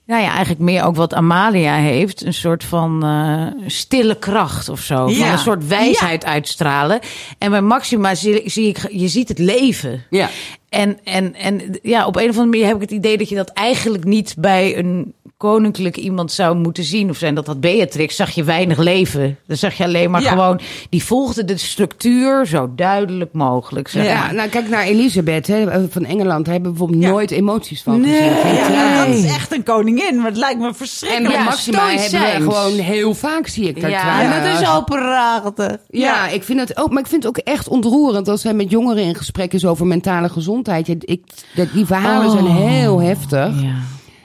S4: nou ja, eigenlijk meer ook wat Amalia heeft, een soort van eh, stille kracht of zo, van
S2: Ja.
S4: een soort wijsheid uitstralen. En bij Maxima zie, zie ik, je ziet het leven.
S3: Ja.
S4: En, en, en ja, op een of andere manier heb ik het idee dat je dat eigenlijk niet bij een koninklijk iemand zou moeten zien. Of zijn dat dat Beatrix, zag je weinig leven. Dan zag je alleen maar
S2: Ja.
S4: gewoon, die volgde de structuur zo duidelijk mogelijk. Zeg
S3: Ja,
S4: maar.
S3: nou kijk naar Elisabeth hè, van Engeland. Daar hebben we bijvoorbeeld
S2: Ja.
S3: nooit emoties van
S4: Nee.
S3: gezien. Geen
S2: Ja,
S3: tranen.
S2: maar dat is echt een koningin. Maar het lijkt me
S3: En
S2: verschrikkelijk.
S3: bij
S4: Ja,
S3: Maxima hebben we
S4: stoïcijns.
S3: gewoon heel vaak zie ik daar
S4: Ja,
S3: tranen.
S4: dat is al prachtig.
S3: Ja, ik vind het ook, maar ik vind het ook echt ontroerend als zij met jongeren in gesprek is over mentale gezondheid. Ja, Ik, dat, die verhalen zijn heel heftig.
S4: Oh. Ja.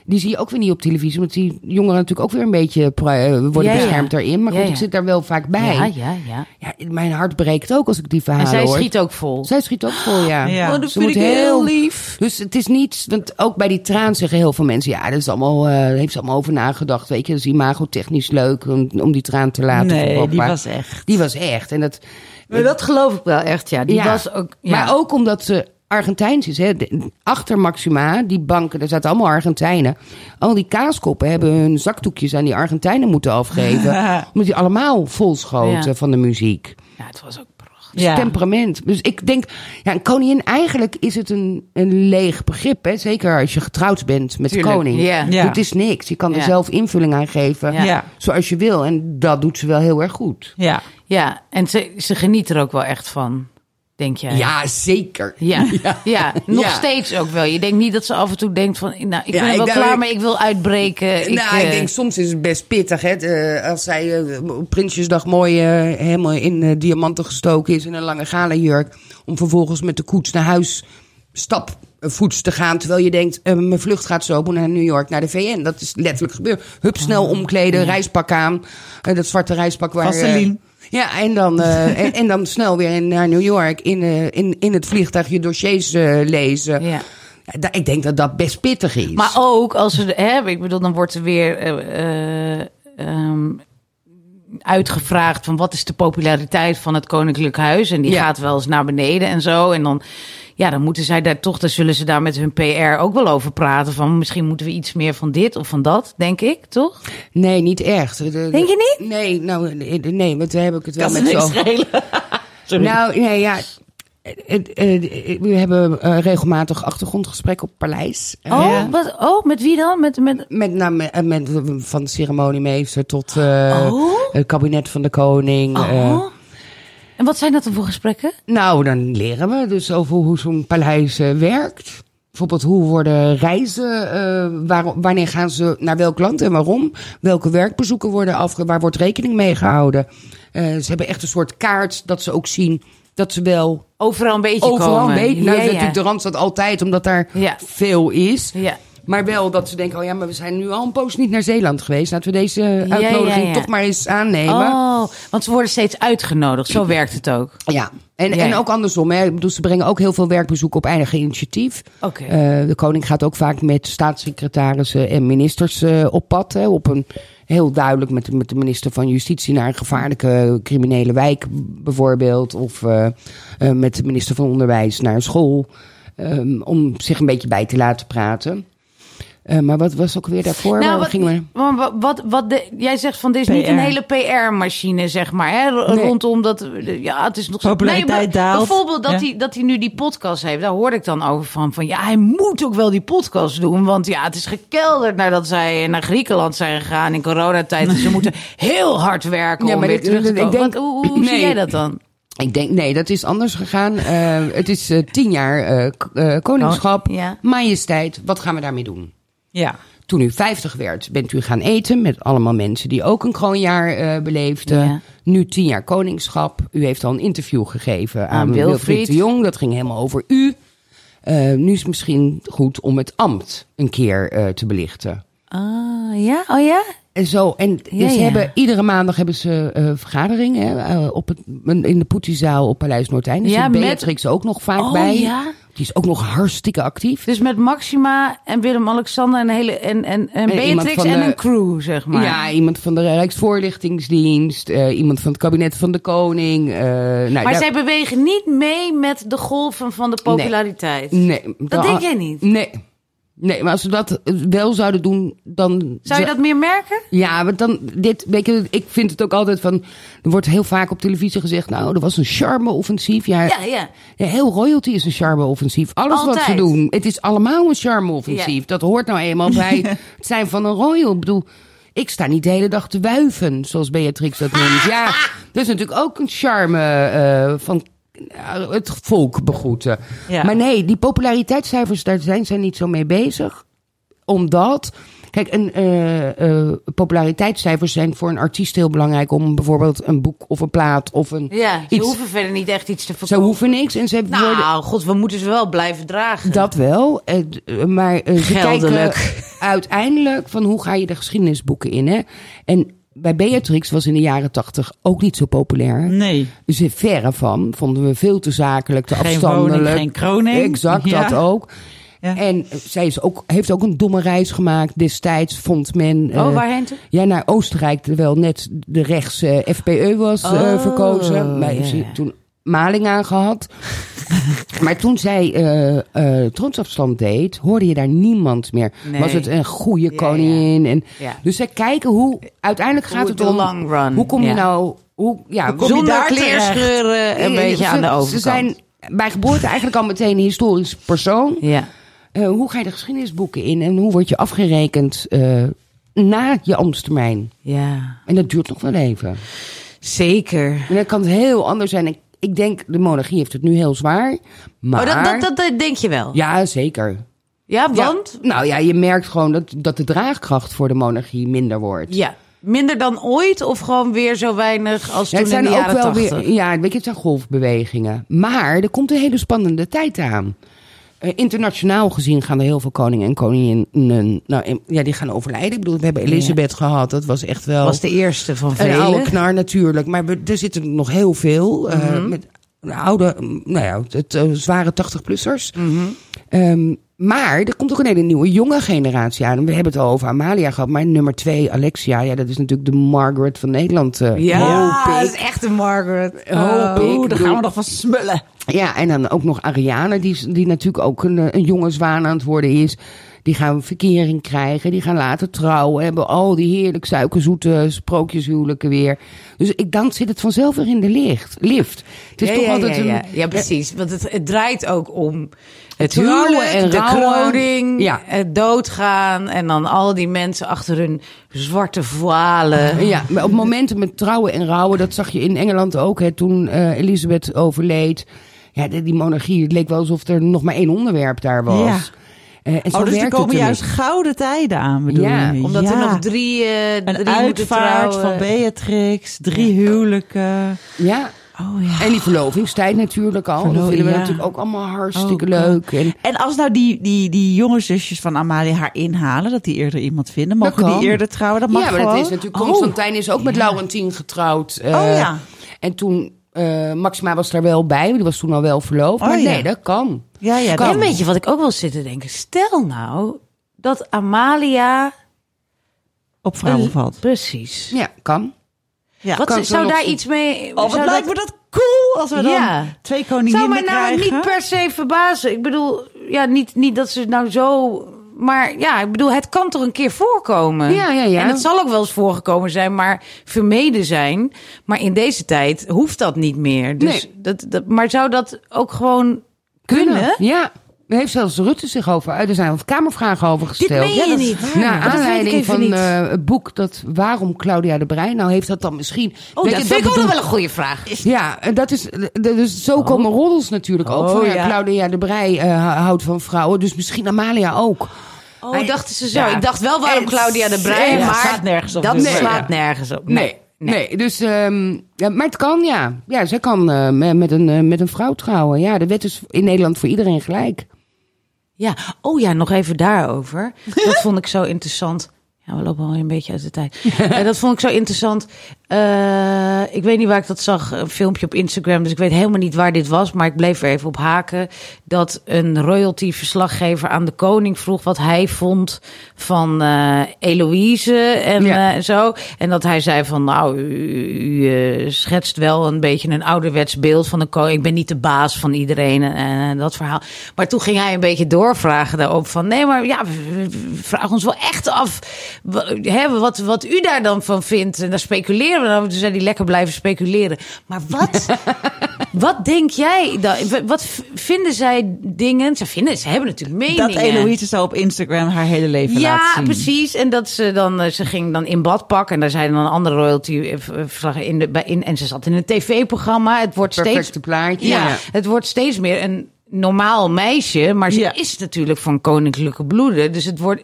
S3: Die zie je ook weer niet op televisie, want die jongeren natuurlijk ook weer een beetje pri- eh, worden
S4: Ja, ja.
S3: beschermd daarin. Maar
S4: Ja,
S3: goed,
S4: ja.
S3: ik zit daar wel vaak bij.
S4: Ja,
S3: Ja,
S4: ja, ja.
S3: mijn hart breekt ook als ik die
S4: En
S3: verhalen
S4: zij
S3: Nou, hoor.
S4: schiet ook vol.
S3: Zij schiet ook voor, ja.
S2: Ja. Oh, dat
S3: Ze
S4: vind
S3: moet
S4: ik heel lief.
S3: Dus het is niet, want ook bij die traan zeggen heel veel mensen, ja, dat is allemaal, eh, daar heeft ze allemaal over nagedacht, weet je. Dat is imago-technisch leuk om, om die traan te laten
S2: Nee,
S3: verkopen.
S2: die
S3: Maar
S2: was echt.
S3: Die was echt. En dat,
S4: Maar dat geloof ik wel echt, ja. Die
S3: ja.
S4: was ook... Ja.
S3: Maar ook omdat ze Argentijns is, hè. De- Achter Maxima, die banken, daar zaten allemaal Argentijnen. Al die kaaskoppen hebben hun zakdoekjes aan die Argentijnen moeten afgeven. omdat die allemaal vol schoten
S4: Ja.
S3: van de muziek.
S4: Ja, het was ook prachtig.
S3: Dus temperament. Dus ik denk, ja, een koningin, eigenlijk is het een, een leeg begrip. Hè? Zeker als je getrouwd bent met de
S4: Tuurlijk,
S3: koning.
S4: ja.
S3: Dus
S2: Ja.
S3: Het is niks. Je kan er
S4: Ja.
S3: zelf invulling aan geven
S4: Ja.
S2: Ja.
S3: zoals je wil. En dat doet ze wel heel erg goed.
S2: Ja.
S4: Ja, en ze, ze geniet er ook wel echt van. denk jij?
S3: Ja, zeker.
S4: Ja, ja. nog
S3: Ja.
S4: steeds ook wel. Je denkt niet dat ze af en toe denkt van, nou, ik
S3: Ja,
S4: ben wel
S3: ik denk-
S4: klaar, maar ik wil uitbreken. Ik,
S3: nou, ik
S4: eh,
S3: denk soms is het best pittig. Hè? Eh, als zij eh, op Prinsjesdag mooi eh, helemaal in eh, diamanten gestoken is... in een lange galenjurk... om vervolgens met de koets naar huis stap eh, voets te gaan... terwijl je denkt, eh, mijn vlucht gaat zo open naar New York, naar de VN. Dat is letterlijk gebeurd. Hup, snel
S4: Ah,
S3: omkleden, reispak aan. eh, dat zwarte reispak waar... eh,
S2: Vaseline.
S3: ja, en dan, eh, en, en dan snel weer in- naar New York. In, eh, in, in het vliegtuig je dossiers eh, lezen. Eh,
S4: Ja.
S3: Da- ik denk dat dat best pittig is.
S4: Maar ook als ze, hè, ik bedoel, dan wordt er weer eh, eh, ehm, uitgevraagd van wat is de populariteit van het Koninklijk Huis. En die
S3: Ja.
S4: gaat wel eens naar beneden en zo. En dan, ja, dan moeten zij daar toch, dan zullen ze daar met hun PR ook wel over praten. Van misschien moeten we iets meer van dit of van dat, denk ik, toch?
S3: Nee, niet echt. Denk
S4: je
S3: niet? Nee, nou, nee, want daar heb ik het wel
S2: Kan ze
S3: met
S2: niks
S3: zo.
S2: schelen.
S3: Nou, nee, ja. Het- eh, We hebben eh, regelmatig achtergrondgesprekken op Paleis. Eh,
S4: Oh, wat, oh met wie dan? Met, met,
S3: Met, name eh, met, van de ceremoniemeester tot eh, het kabinet van de koning.
S4: oh.
S3: eh.
S4: En wat zijn dat dan voor gesprekken?
S3: nou, dan leren we dus over hoe zo'n paleis eh, werkt. Bijvoorbeeld, hoe worden reizen, eh, waar- wanneer gaan ze naar welk land en waarom? Welke werkbezoeken worden afge... Waar wordt rekening mee gehouden? Eh, ze hebben echt een soort kaart dat ze ook zien dat ze wel
S4: Overal een beetje
S3: overal
S4: komen.
S3: mee... Nou,
S4: Ja,
S3: dat is
S4: ja.
S3: natuurlijk de Randstad altijd, omdat daar
S4: Ja.
S3: veel is.
S4: Ja.
S3: Maar wel dat ze denken, oh ja, maar we zijn nu al een poos niet naar Zeeland geweest. Laten we deze
S4: ja,
S3: uitnodiging
S4: ja.
S3: toch maar eens aannemen.
S4: Oh, want ze worden steeds uitgenodigd. Zo werkt het ook.
S3: Ja, en,
S4: Ja.
S3: en ook andersom. Hè. Ik bedoel, ze brengen ook heel veel werkbezoek op eigen initiatief.
S4: Oké.
S3: Eh, de koning gaat ook vaak met staatssecretarissen en ministers eh, op pad. Hè, op een heel duidelijk met, de- met de minister van Justitie naar een gevaarlijke criminele wijk bijvoorbeeld. Of eh, eh, met de minister van Onderwijs naar een school. ehm, om zich een beetje bij te laten praten. Eh, maar wat was ook weer daarvoor? Waar
S4: Nou, wat,
S3: gingen we?
S4: maar wat, wat, wat de, jij zegt van, dit is niet
S2: PR.
S4: een hele PR-machine, zeg maar. Hè? r-
S3: Nee.
S4: Rondom dat, eh, ja, het is nog...
S2: Populariteit
S4: maar
S2: daalt.
S4: Bijvoorbeeld dat,
S2: Ja.
S4: hij, dat hij nu die podcast heeft. Daar hoorde ik dan over van, van, ja, hij moet ook wel die podcast doen. Want ja, het is gekelderd nadat zij naar Griekenland zijn gegaan in coronatijd. Dus ze moeten heel hard werken
S3: Ja,
S4: om
S3: maar
S4: weer
S3: dit-
S4: terug te
S3: ik
S4: komen.
S3: denk-
S4: Want hoe hoe zie
S3: Nee.
S4: jij dat dan?
S3: Ik denk, nee, dat is anders gegaan. Eh, het is eh, tien jaar eh, k- eh, koningschap,
S4: Oh, ja.
S3: majesteit. Wat gaan we daarmee doen?
S2: Ja.
S3: Toen u 50 werd, bent u gaan eten met allemaal mensen die ook een kroonjaar eh, beleefden.
S4: Ja.
S3: Nu tien jaar koningschap. U heeft al een interview gegeven aan,
S4: Wilfried.
S3: Wilfried. de Jong. Dat ging helemaal over u. Eh, nu is het misschien goed om het ambt een keer eh, te belichten.
S4: Ah, ja? Oh ja?
S3: En zo, en
S4: Ja,
S3: ze
S4: ja.
S3: hebben, iedere maandag hebben ze eh, vergaderingen hè, eh, op het, in de Poetiezaal op Paleis Noordeinde.
S4: Ja,
S3: Ja, zit
S4: met-
S3: Beatrix ook nog vaak
S4: Oh,
S3: bij.
S4: ja?
S3: Die is ook nog hartstikke actief.
S4: Dus met Maxima en Willem-Alexander en, hele- en, en, en
S3: En iemand
S4: Beatrix
S3: van
S4: en
S3: de-
S4: een crew, zeg maar.
S3: Ja, iemand van de Rijksvoorlichtingsdienst, eh, iemand van het kabinet van de koning. eh, nou,
S4: Maar
S3: daar-
S4: zij bewegen niet mee met de golven van de populariteit.
S3: Nee. dan-
S4: denk jij niet?
S3: Nee. Nee, maar als ze dat eh, wel zouden doen, dan...
S4: Zou je dat meer merken?
S3: Ja, want dan, dit, weet je, ik vind het ook altijd van, er wordt heel vaak op televisie gezegd, nou, er was een charme-offensief.
S4: Ja, ja.
S3: Ja, heel royalty is een charme-offensief. Alles wat ze
S4: Altijd.
S3: doen, het is allemaal een charme-offensief.
S4: Ja.
S3: Dat hoort nou eenmaal bij het zijn van een royal. Ik bedoel, ik sta niet de hele dag te wuiven, zoals Beatrix dat noemt. Ja, dat is natuurlijk ook een charme eh, van eh, het volk begroeten.
S2: Ja.
S3: Maar nee, die populariteitscijfers, daar zijn zij niet zo mee bezig. Omdat... Kijk, een, eh, eh, populariteitscijfers zijn voor een artiest heel belangrijk om bijvoorbeeld een boek of een plaat of een
S4: Ja, ze
S3: iets.
S4: hoeven verder niet echt iets te
S3: Ze
S4: verkopen.
S3: hoeven niks en ze
S4: Nou,
S3: worden
S4: god, we moeten ze wel blijven dragen.
S3: dat wel, eh, d- eh, maar eh, ze
S4: Geldelijk.
S3: kijken uiteindelijk van hoe ga je de geschiedenisboeken in. Hè? En bij Beatrix was in de jaren tachtig ook niet zo populair.
S2: Nee.
S3: Ze verre van, vonden we veel te zakelijk, te
S2: Geen
S3: afstandelijk.
S2: woning, geen kroning.
S3: Exact,
S2: Ja.
S3: dat ook.
S2: Ja.
S3: En eh, zij is ook, heeft ook een domme reis gemaakt destijds, vond men.
S4: Oh,
S3: eh,
S4: waarheen toen?
S3: Ja, naar Oostenrijk, terwijl net de rechts eh, FPE was eh,
S4: Oh,
S3: verkozen. Maar heeft
S4: ja,
S3: ze
S4: ja.
S3: toen maling aan gehad. maar toen zij eh, eh, troonsafstand deed, hoorde je daar niemand meer.
S4: Nee.
S3: Was het een goede
S4: ja.
S3: koningin? En,
S4: Ja.
S3: Dus zij kijken hoe, uiteindelijk
S4: Hoe
S3: gaat
S4: het
S3: het
S4: de
S3: om,
S4: long run,
S3: hoe kom
S4: ja.
S3: je nou... Hoe, ja,
S2: kom je
S4: Zonder
S2: daar
S4: kleerscheuren, een
S3: eh,
S4: beetje
S3: ze-
S4: aan de overkant.
S3: Ze zijn bij geboorte eigenlijk al meteen een historisch persoon.
S4: Ja.
S3: Eh, hoe ga je de geschiedenisboeken in en hoe word je afgerekend eh, na je ambtstermijn?
S4: Ja, Oh,
S3: En dat duurt nog wel even.
S4: zeker.
S3: En dat kan heel anders zijn. En ik denk, de monarchie heeft het nu heel zwaar. Maar...
S4: Oh, dat, dat, dat, dat denk je wel. Ja,
S3: Ja, zeker.
S4: want?
S3: Ja, nou ja, je merkt gewoon dat, dat de draagkracht voor de monarchie minder wordt.
S4: Ja. Minder dan ooit of gewoon weer zo weinig als
S3: Ja,
S4: toen in de jaren tachtig?
S3: weer. Ja, weet je, het zijn golfbewegingen. Maar er komt een hele spannende tijd aan. Eh, internationaal gezien gaan er heel veel koningen en koninginnen. Nou, en- ja, die gaan overlijden. Ik bedoel, we hebben Elisabeth gehad. Dat was echt wel.
S4: was de eerste van
S3: een oude
S4: velen.
S3: knar natuurlijk. Maar we, er zitten nog heel veel. eh,
S4: Mhm.
S3: Met de oude, mm, nou ja, het eh, zware 80-plussers.
S4: Mhm.
S3: Ehm, maar er komt ook een hele nieuwe jonge generatie aan. En We hebben het al over Amalia gehad. Maar nummer twee, Alexia. Ja, dat is natuurlijk de Margaret van Nederland. eh, hoop ik.
S4: dat is echt een Margaret.
S3: Hoop Oh, ik.
S2: Oh, Oeh, daar gaan
S3: Bedoel-
S2: we nog van smullen.
S3: Ja, en dan ook nog Ariane, die, is- die natuurlijk ook een, eh, een jonge zwaan aan het worden is. Die gaan verkering krijgen, die gaan later trouwen. Hebben al die heerlijk suikerzoete sprookjeshuwelijken weer. Dus ik, dan zit het vanzelf weer in de licht, lift. Het is
S4: ja,
S3: toch
S4: ja,
S3: altijd
S4: ja,
S3: een...
S4: ja. Ja, precies. Want het, het draait ook om het
S3: Trouwen
S4: huwelijk,
S3: en
S4: de
S3: rouwen.
S4: kroning,
S3: Ja.
S4: het doodgaan... en dan al die mensen achter hun zwarte voile.
S3: Ja, maar op momenten met trouwen en rouwen, dat zag je in Engeland ook. Hè, toen eh Elisabeth overleed. Ja, de- die monarchie, het leek wel alsof er nog maar één onderwerp daar was.
S2: Ja.
S3: Eh, en zo
S2: Oh, dus er
S3: werkt
S2: komen
S3: het er
S2: juist
S3: niet.
S2: gouden tijden aan, bedoel
S3: Ja,
S2: je?
S4: Omdat er
S2: Ja.
S4: nog drie, eh
S2: Een
S4: drie moeten
S2: uitvaart
S4: trouwen.
S2: van Beatrix, drie huwelijken.
S3: Ja.
S2: Oh ja.
S3: En die verlovingstijd natuurlijk al.
S2: Verlo-
S3: dat vinden we
S2: ja.
S3: natuurlijk ook allemaal hartstikke
S2: Oh,
S3: leuk. En
S2: En als nou die, die, die jonge zusjes van Amalie haar inhalen, dat die eerder iemand vinden,
S3: Dat
S2: mogen
S3: kan.
S2: die eerder trouwen? Dat mag
S3: ja, maar
S2: gewoon.
S3: dat is natuurlijk.
S2: Oh.
S3: Constantijn is ook met Laurentien getrouwd. eh,
S2: Oh, ja.
S3: En toen. eh, Maxima was daar wel bij, die was toen al wel verloofd.
S2: Oh,
S3: maar
S2: ja.
S3: nee, dat kan.
S2: Ja, ja,
S3: Kan.
S2: dat-
S4: En weet je wat ik ook wel zit te denken? Stel nou dat Amalia...
S2: op vrouwen valt.
S4: Precies.
S3: Ja, kan.
S2: Ja.
S4: Wat,
S3: kan het
S4: zou
S3: wel
S4: daar
S3: nog-
S4: iets mee...
S2: Oh, wat
S4: zou
S2: lijkt
S4: dat-
S2: me dat cool als we dan
S4: Ja.
S2: twee
S4: zou
S2: koninginnen
S4: mij nou
S2: krijgen.
S4: niet per se verbazen. Ik bedoel, ja, niet, niet dat ze nou zo. Maar ja, ik bedoel, het kan toch een keer voorkomen.
S3: Ja, ja, ja.
S4: En het zal ook wel eens voorgekomen zijn, maar vermeden zijn. Maar in deze tijd hoeft dat niet meer. Dus
S3: Nee.
S4: dat, dat, maar zou dat ook gewoon kunnen?
S3: Ja. Daar heeft zelfs Rutte zich over uit. Er zijn wat kamervragen over
S4: Dit
S3: gesteld.
S4: meen
S3: Ja,
S4: je
S3: dat-
S4: niet. Nou,
S3: Naar
S4: Dat weet ik
S3: aanleiding
S4: even
S3: van
S4: niet.
S3: eh, het boek dat Waarom Claudia de Brein. Nou heeft dat dan misschien...
S4: Oh,
S3: Weet
S4: dat
S3: je,
S4: vind ik ook nog
S3: bedoelt-
S4: wel een goede vraag.
S3: Ja, en dat is, dat- dus zo komen roddels natuurlijk ook.
S2: Oh,
S3: van, ja,
S2: ja.
S3: Claudia de Brij eh, houdt van vrouwen, dus misschien Amalia ook.
S4: Oh, dachten ze zo. Ik dacht wel waarom
S3: En-
S4: Claudia de Breij,
S3: Ja,
S4: maar
S2: slaat nergens op
S4: dat
S2: natuurlijk.
S4: slaat nergens op.
S3: dus- Nee, nee. dus, ehm, ja, maar het kan, ja. Ja, zij kan eh, me- met, een, eh, met een vrouw trouwen. Ja, de wet is in Nederland voor iedereen gelijk.
S4: Ja, oh ja, nog even daarover. Dat vond ik zo interessant. Ja, we lopen al een beetje uit de tijd. Eh, dat vond ik zo interessant. Eh, ik weet niet waar ik dat zag. Een filmpje op Instagram. Dus ik weet helemaal niet waar dit was. Maar ik bleef er even op haken. Dat een royalty-verslaggever aan de koning vroeg wat hij vond van eh Eloïse en
S3: Ja.
S4: eh, zo. En dat hij zei van nou, u, u, eh, schetst wel een beetje een ouderwets beeld van de koning. Ik ben niet de baas van iedereen en, en- en dat verhaal. Maar toen ging hij een beetje doorvragen daarop van nee, maar ja, we- we- we vragen ons wel echt af wa- hè, wat, wat u daar dan van vindt. En daar speculeren we dan. Toen zei hij lekker blijven speculeren. Maar wat wat denk jij? dan? W- Wat v- vinden zij dingen? Ze, vinden, ze hebben natuurlijk meningen.
S2: Dat Eloïse zo op Instagram haar hele leven laat
S4: Ja,
S2: zien.
S4: precies. En dat ze dan, eh, ze ging dan in bad pakken. En daar zijn dan andere royalty eh, v- eh, verslagen in de, bij, in, en ze zat in een tv-programma. Het wordt
S3: Perfecte
S4: steeds,
S3: plaatje.
S4: ja,
S3: ja.
S4: het wordt steeds meer een normaal meisje, maar ze
S2: Ja.
S4: is natuurlijk van koninklijke bloeden. Dus het wordt,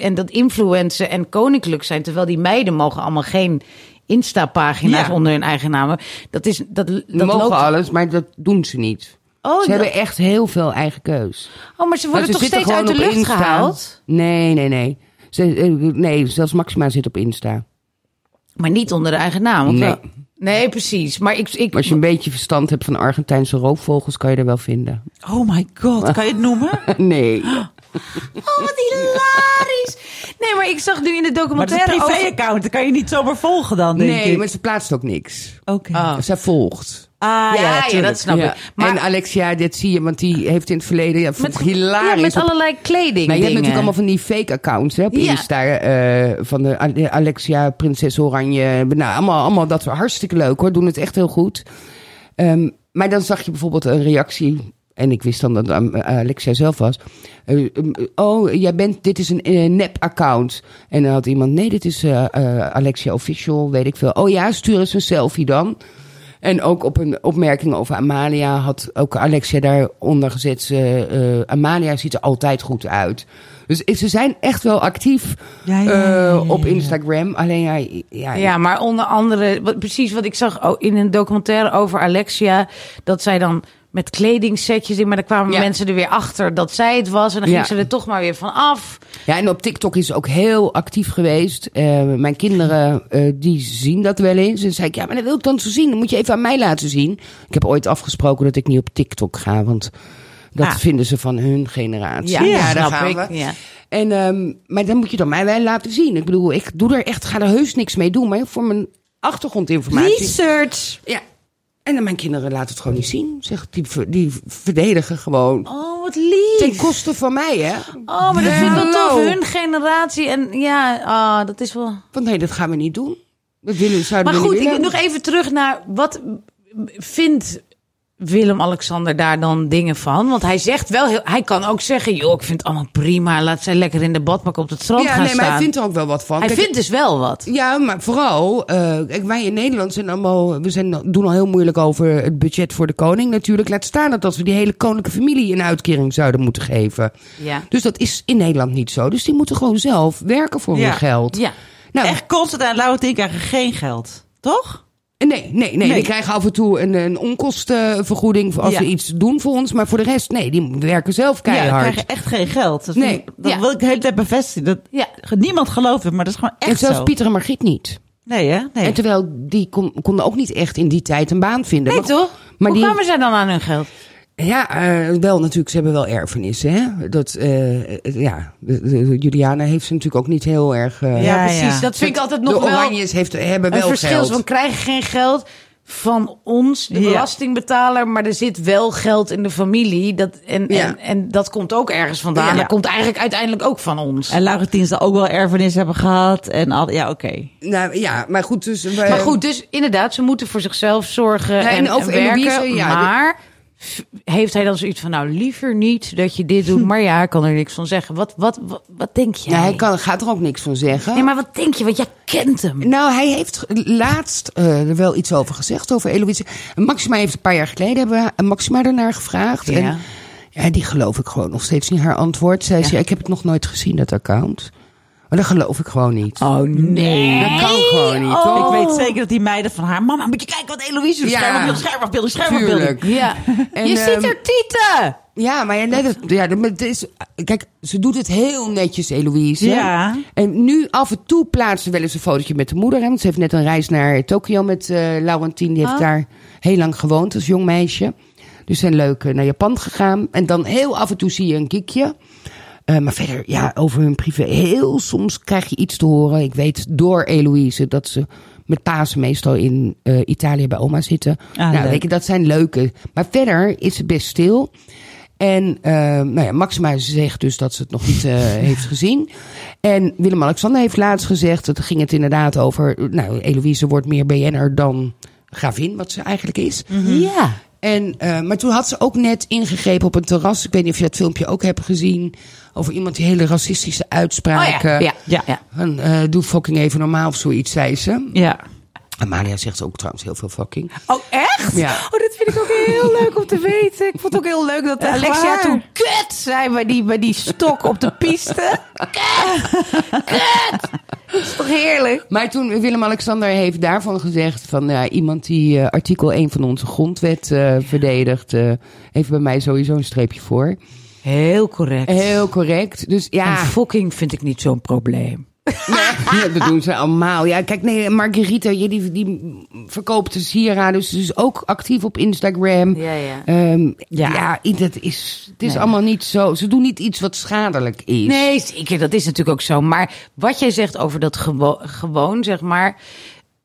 S4: en dat influencen en koninklijk zijn, terwijl die meiden mogen allemaal geen Insta-pagina's
S2: Ja.
S4: onder hun eigen namen. Dat is, dat, dat
S3: Ze mogen
S4: loopt.
S3: alles, maar dat doen ze niet.
S4: Oh,
S3: ze
S4: dat-
S3: hebben echt heel veel eigen keus.
S4: Oh, maar ze worden
S3: Maar ze
S4: toch
S3: zitten
S4: steeds uit de
S3: gewoon op
S4: lucht
S3: Insta.
S4: gehaald?
S3: Nee, nee, nee. Ze, eh, nee, zelfs Maxima zit op Insta.
S4: Maar niet onder de eigen naam. want
S3: Nee.
S4: wel- nee, precies. Maar ik, ik,
S3: Als je een beetje verstand hebt van Argentijnse roofvogels, kan je er wel vinden.
S2: Oh my god, kan je het noemen?
S3: Nee.
S4: Oh, wat hilarisch. Nee, maar ik zag nu in
S2: Maar het
S4: de
S2: is
S4: documentaire
S2: een
S4: over-
S2: privé-account, dat kan je niet zomaar volgen dan, denk
S3: Nee,
S2: ik.
S3: maar ze plaatst ook niks.
S2: Oké.
S4: Ah.
S3: Zij volgt.
S2: Ah,
S4: ja, ja,
S2: tuurlijk.
S4: dat snap
S3: Ja.
S4: ik. Maar
S3: en Alexia, dit zie je, want die heeft in het verleden ja,
S4: met,
S3: met, hilarisch.
S4: ja, met
S3: op-
S4: allerlei kleding
S3: nou, je hebt
S4: dingen.
S3: natuurlijk allemaal van die fake accounts hè, op
S4: Ja.
S3: Insta. eh, van de A- de Alexia, Prinses Oranje. Nou, allemaal, allemaal dat soort- hartstikke leuk hoor. Doen het echt heel goed. Ehm, maar dan zag je bijvoorbeeld een reactie. En ik wist dan dat um, Alexia zelf was. Eh, um, oh, jij bent, dit is een eh, nep-account. En dan had iemand, nee, dit is eh, eh, Alexia Official, weet ik veel. Oh ja, stuur eens een selfie dan. En ook op een opmerking over Amalia had ook Alexia daaronder gezet. Ze, eh, Amalia ziet er altijd goed uit. Dus eh, ze zijn echt wel actief
S2: Ja, ja, ja, ja,
S3: eh,
S2: ja, ja,
S3: op
S2: ja.
S3: Instagram. Alleen ja, ja,
S4: Mm. Ja, maar onder andere, wat, precies wat ik zag o- in een documentaire over Alexia, dat zij dan met kledingsetjes in, maar dan kwamen
S3: Ja.
S4: mensen er weer achter dat zij het was en dan ging
S3: Ja.
S4: ze er toch maar weer van af.
S3: Ja, en op TikTok is ze ook heel actief geweest. Eh, mijn kinderen, eh, die zien dat wel eens. En zei ik, ja, maar dat wil ik dan zo zien. Dat moet je even aan mij laten zien. Ik heb ooit afgesproken dat ik niet op TikTok ga, want dat
S4: Ah.
S3: vinden ze van hun generatie.
S4: Ja, ja, snap ik. Ja.
S3: En, ehm, maar dan moet je dan mij wel laten zien. Ik bedoel, ik doe er echt, ga er heus niks mee doen. Maar voor mijn achtergrondinformatie...
S2: Research!
S3: Ja. En dan mijn kinderen laten het gewoon niet zien. Zeg, die, ver- die verdedigen gewoon.
S4: Oh, wat
S3: Ten
S4: lief.
S3: koste van mij, hè?
S4: Oh, maar dat vind ik wel
S3: Hallo.
S4: tof. Hun generatie en ja, ah, dat is wel...
S3: Want nee, dat gaan we niet doen. Dat willen, zouden
S4: Maar
S3: we
S4: goed,
S3: niet
S4: ik,
S3: willen.
S4: nog even terug naar wat vindt Willem-Alexander daar dan dingen van? Want hij zegt wel, heel, hij kan ook zeggen, joh, ik vind het allemaal prima. Laat zij lekker in de badpak op het strand
S3: Ja,
S4: gaan
S3: nee, maar
S4: staan.
S3: hij vindt er ook wel wat van.
S4: Hij
S3: Kijk,
S4: vindt dus wel wat.
S3: Ja, maar vooral, eh, kijk, wij in Nederland zijn allemaal, we zijn, doen al heel moeilijk over het budget voor de koning natuurlijk. Laat staan dat, dat we die hele koninklijke familie een uitkering zouden moeten geven.
S4: Ja.
S3: Dus dat is in Nederland niet zo. Dus die moeten gewoon zelf werken voor
S2: Ja.
S3: hun geld.
S4: Ja.
S3: Nou,
S2: Echt constant aan Lauwetien krijgen geen geld, toch?
S3: Nee, nee, nee, Die krijgen af en toe een, een onkostenvergoeding voor als
S2: Ja.
S3: ze iets doen voor ons. Maar voor de rest, nee, die werken zelf
S2: Ja, we
S3: keihard.
S2: krijgen echt geen geld. Dat,
S3: Nee.
S2: vind ik- dat
S4: Ja.
S2: wil ik de hele tijd bevestigen. Dat
S4: Ja.
S2: Niemand gelooft het, maar dat is gewoon echt
S3: en zelfs
S2: zo.
S3: Pieter en Margriet niet.
S2: Nee, hè? Nee.
S3: En terwijl die kon- konden ook niet echt in die tijd een baan vinden.
S4: Nee,
S3: Maar-
S4: toch?
S3: Maar
S4: Hoe
S3: die,
S4: kwamen zij dan aan hun geld?
S3: Ja, eh, wel natuurlijk. Ze hebben wel erfenissen. Hè? Dat, eh, eh, ja, de- de- Juliana heeft ze natuurlijk ook niet heel erg. eh,
S2: Ja,
S4: precies.
S2: ja.
S4: Dat vind ik altijd
S3: de
S4: nog wel
S3: Oranjes heeft, hebben
S4: een
S3: wel
S4: verschil.
S3: geld.
S4: Want krijgen geen geld van ons, de
S2: Ja.
S4: belastingbetaler, maar er zit wel geld in de familie. Dat, en,
S3: Ja.
S4: en, en dat komt ook ergens vandaan.
S3: Ja.
S4: Dat komt eigenlijk uiteindelijk ook van ons.
S2: En Lauwetien zal ook wel erfenis hebben gehad. En al, ja, oké.
S3: Nou ja, maar goed. Dus, we-
S4: Maar goed, dus inderdaad, ze moeten voor zichzelf zorgen
S3: Ja,
S4: en,
S3: en of
S4: en werken.
S3: Eloïse, ja, dit-
S4: maar f- heeft hij dan zoiets van, nou liever niet dat je dit doet. Maar ja, hij kan er niks van zeggen. Wat, wat, wat, wat denk jij?
S3: Ja, hij kan, gaat er ook niks van zeggen.
S4: Nee, maar wat denk je? Want jij kent hem.
S3: Nou, hij heeft laatst eh, er wel iets over gezegd, over Eloïse. Maxima heeft een paar jaar geleden, hebben we eh, Maxima ernaar gevraagd.
S4: Ja.
S3: En, ja, die geloof ik gewoon nog steeds niet, haar antwoord. Zij zei, ik heb het nog nooit gezien, dat account. Maar dat geloof ik gewoon niet.
S4: Oh nee. Oh.
S3: Dat kan gewoon niet, toch?
S2: Ik weet zeker dat die meiden van haar... Mama, moet je kijken wat Eloïse doet.
S3: Ja.
S2: Schermafbeelding, schermafbeelding, schermafbeelding.
S3: Tuurlijk.
S4: Ja.
S3: En,
S4: je
S3: ehm,
S4: ziet er tieten!
S3: Ja, maar ja, nee, dat, ja, dat- maar het is, kijk, ze doet het heel netjes, Eloïse.
S2: Ja.
S3: En nu af en toe plaatst ze wel eens een fotootje met de moeder. Hè, want ze heeft net een reis naar Tokio met eh Laurentien. Die heeft daar heel lang gewoond als jong meisje. Dus ze zijn leuk eh, naar Japan gegaan. En dan heel af en toe zie je een kiekje. Eh, maar verder, ja, over hun privé. Heel soms krijg je iets te horen. Ik weet door Eloïse dat ze met Pasen meestal in eh, Italië bij oma zitten. nou,
S2: leuk.
S3: weet je, dat zijn leuke. Maar verder is ze best stil. En eh, nou ja, Maxima zegt dus dat ze het nog niet eh, heeft gezien. En Willem-Alexander heeft laatst gezegd, dat ging het inderdaad over... Nou, Eloïse wordt meer BN'er dan gravin, wat ze eigenlijk is.
S4: Mhm. Ja.
S3: En, eh, maar toen had ze ook net ingegrepen op een terras. Ik weet niet of je dat filmpje ook hebt gezien. Over iemand die hele racistische uitspraken.
S4: Oh ja.
S2: Ja.
S4: Ja.
S3: Van, eh, doe fucking even normaal of zoiets, zei ze.
S2: Ja.
S3: Amalia zegt ook trouwens heel veel fucking.
S4: Oh, echt?
S3: Ja.
S4: Oh, dat vind ik ook heel leuk om te weten. Ik vond het ook heel leuk dat eh,
S2: Echt
S4: Alexia
S2: waar?
S4: toen kut zei bij die, bij die stok op de piste. Kut! Kut! Dat is toch heerlijk?
S3: Maar toen Willem-Alexander heeft daarvan gezegd van ja, iemand die eh, artikel 1 van onze grondwet eh, verdedigt, eh, heeft bij mij sowieso een streepje voor.
S4: Heel correct.
S3: Heel correct. Dus ja,
S4: En fucking vind ik niet zo'n probleem.
S3: ja, dat doen ze allemaal. Ja, kijk, nee, Margarita, ja, die, die verkoopt de sieraden, dus ze is ook actief op Instagram.
S4: Ja, ja.
S3: Ehm, ja.
S4: Ja.
S3: i- dat is, het is allemaal niet zo. Ze doen niet iets wat schadelijk is.
S4: Nee, zeker. Dat is natuurlijk ook zo. Maar wat jij zegt over dat gewo- gewoon, zeg maar.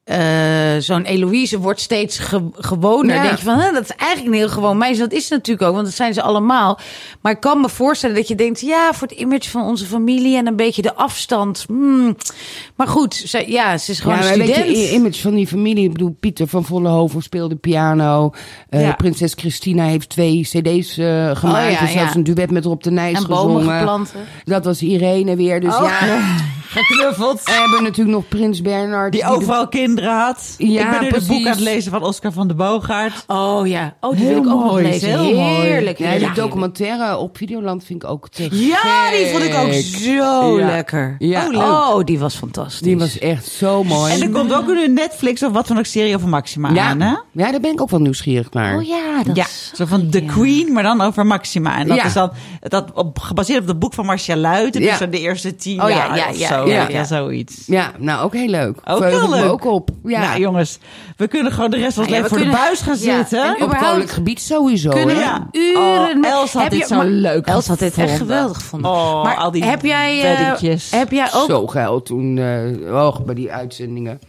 S4: eh, Zo'n Eloïse wordt steeds ge- gewoner.
S3: Ja.
S4: Denk je van, hè, dat is eigenlijk een heel gewoon meisje. Dat is het natuurlijk ook, want dat zijn ze allemaal. Maar ik kan me voorstellen dat je denkt, ja, voor het image van onze familie en een beetje de afstand. hmm. Maar goed, ze, ja, ze is gewoon
S3: ja,
S4: een
S3: maar weet
S4: student.
S3: je, i- image van die familie. Ik bedoel, Pieter van Vollenhoven speelde piano. Eh,
S2: Ja.
S3: Prinses Christina heeft twee cd's eh, gemaakt.
S4: Oh, ja,
S3: en zelfs
S4: ja.
S3: een duet met Rob de Nijs
S4: En bomen
S3: gezongen.
S4: geplant, hè?
S3: Dat was Irene weer. Dus
S4: Oh.
S3: ja,
S2: geknuffeld.
S3: We hebben natuurlijk nog Prins Bernhard.
S2: Die overal kinderen had.
S3: Ja,
S2: ik ben nu
S3: precies.
S2: de boek aan het lezen van Oscar van de Boogaard.
S4: Oh ja. Oh, die
S3: Heel
S4: wil ik ook nog
S3: mooi,
S4: lezen.
S3: heel mooi.
S4: heerlijk.
S3: Ja, die
S4: heerlijk.
S3: documentaire op Videoland vind ik ook te
S4: Ja, die
S3: gek.
S4: vond ik ook zo
S3: Ja.
S4: lekker.
S3: Ja.
S4: Oh, leuk. Oh, die was fantastisch.
S3: Die was echt zo mooi.
S2: En er komt ook nu een Netflix of wat dan ook serie over Maxima aan, hè?
S3: ja, ja, daar ben ik ook wel nieuwsgierig naar.
S4: Oh ja, dat
S2: Ja,
S4: is-
S2: zo van The Queen, maar dan over Maxima. En dat
S3: Ja.
S2: is dan dat op, gebaseerd op het boek van Marcia Luiten.
S3: Ja.
S2: Dus zo de eerste tien
S4: Oh ja,
S2: jaar
S4: ja,
S2: of
S4: ja,
S2: zo.
S3: ja,
S2: Ja,
S4: ja.
S2: zoiets.
S3: Ja, nou ook heel leuk.
S2: Ook
S3: Verheug
S2: heel
S3: ik me
S2: leuk.
S3: ook op. Ja.
S2: Nou jongens, we kunnen gewoon de rest van het
S4: Nou ja,
S2: leven
S4: we
S2: voor de
S4: kunnen-
S2: buis gaan
S4: ja,
S2: zitten.
S4: en
S3: op het
S4: überhaupt-
S3: koninklijk gebied sowieso.
S4: kunnen
S3: hè?
S2: Ja.
S4: we uren...
S2: Oh, Els had
S4: Heb
S2: dit
S4: je-
S2: zo
S4: maar-
S3: leuk
S4: Els had dit echt
S2: gevonden.
S4: geweldig gevonden.
S2: Oh,
S4: maar
S2: al die
S4: heb jij, eh,
S2: weddingjes.
S4: heb jij ook...
S3: Zo geil toen, eh oh, bij die uitzendingen.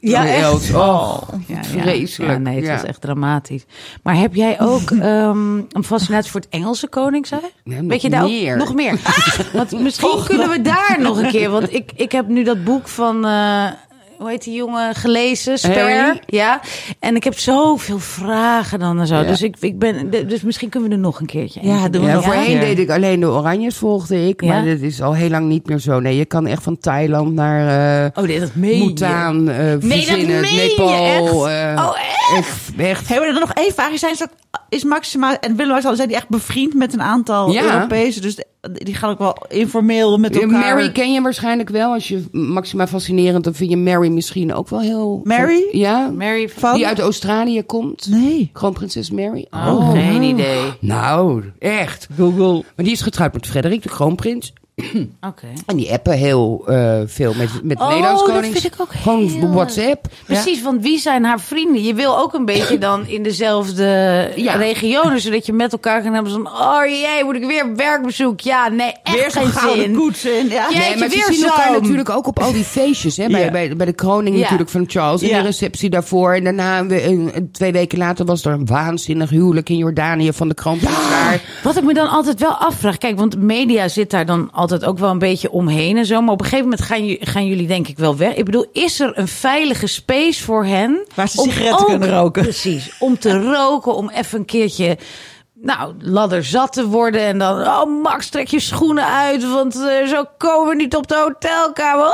S4: Ja,
S3: Van Els.
S4: echt.
S3: Oh,
S4: Ja, ja.
S3: vreselijk.
S4: Ja, nee, het
S3: Ja.
S4: was echt dramatisch. Maar heb jij ook ehm, een fascinatie voor het Engelse koningshuis?
S3: nog
S4: Weet je daar ook-
S3: meer.
S4: nog meer? want misschien kunnen we daar nog een keer. Want ik, ik heb nu dat boek van. eh, hoe heet die jongen? Gelezen,
S3: Harry?
S4: Sper. Ja. En ik heb zoveel vragen dan en zo.
S3: Ja.
S4: Dus, ik, ik ben, dus misschien kunnen we er nog een keertje.
S2: Ja, doen we
S3: Ja,
S2: nog
S3: voorheen
S2: een keer.
S3: deed ik alleen de Oranjes, volgde ik. Maar
S4: Ja.
S3: dat is al heel lang niet meer zo. Nee, je kan echt van Thailand naar eh
S4: Oh, nee, dat meen je.
S3: Bhutan, eh
S4: Nee, dat
S3: verzinnen,
S4: meen je
S3: Nepal.
S4: echt?
S3: eh,
S4: Oh,
S3: echt? echt.
S2: Hey, maar dan nog één vraag. Zijn ze ook- is Maxima en Willem zijn die echt bevriend met een aantal
S3: Ja.
S2: Europese? Dus die gaan ook wel informeel met
S3: Eh,
S2: elkaar.
S3: Mary ken je waarschijnlijk wel. Als je Maxima fascinerend, dan vind je Mary misschien ook wel heel...
S2: Mary?
S3: Ja,
S4: Mary
S2: Van-
S3: die uit Australië komt.
S2: Nee.
S3: Kroonprinses Mary.
S4: Oh, geen idee.
S3: Nou, echt.
S2: Google.
S3: Maar die is getrouwd met Frederik, de kroonprins.
S4: Oké.
S3: En die appen heel eh, veel met, met
S4: Oh,
S3: Nederlands
S4: dat
S3: konings.
S4: vind ik ook
S3: Gewoon
S4: heel erg.
S3: WhatsApp.
S4: Precies, want wie zijn haar vrienden? Je wil ook een beetje dan in dezelfde
S3: Ja.
S4: regionen, zodat je met elkaar kan hebben van, oh jee, moet ik weer op werkbezoek? Ja, nee, echt
S2: Weer zo'n
S4: geen
S2: gouden
S4: zin.
S2: koets in. Ja.
S4: Ja.
S3: Nee,
S4: Jeetje,
S3: maar ze
S4: weer
S3: zien
S4: zo'n-
S3: elkaar natuurlijk ook op al die feestjes. Hè? Bij,
S2: Ja.
S3: bij, bij de kroning
S4: Ja.
S3: natuurlijk van Charles. En
S2: Ja.
S3: de receptie daarvoor. En daarna, we- een- een- twee weken later, was er een waanzinnig huwelijk in Jordanië van de kroonprins daar.
S4: Wat ik me dan altijd wel afvraag, kijk, want media zit daar dan altijd ook wel een beetje omheen en zo, maar op een gegeven moment gaan, ju- gaan jullie denk ik wel weg. Ik bedoel, is er een veilige space voor hen?
S2: Waar ze
S4: om
S2: sigaretten
S4: ook-
S2: kunnen roken.
S4: Precies, om te roken, om even een keertje... Nou, ladder zat te worden en dan... Oh, Max, trek je schoenen uit, want eh, zo komen we niet op de hotelkamer.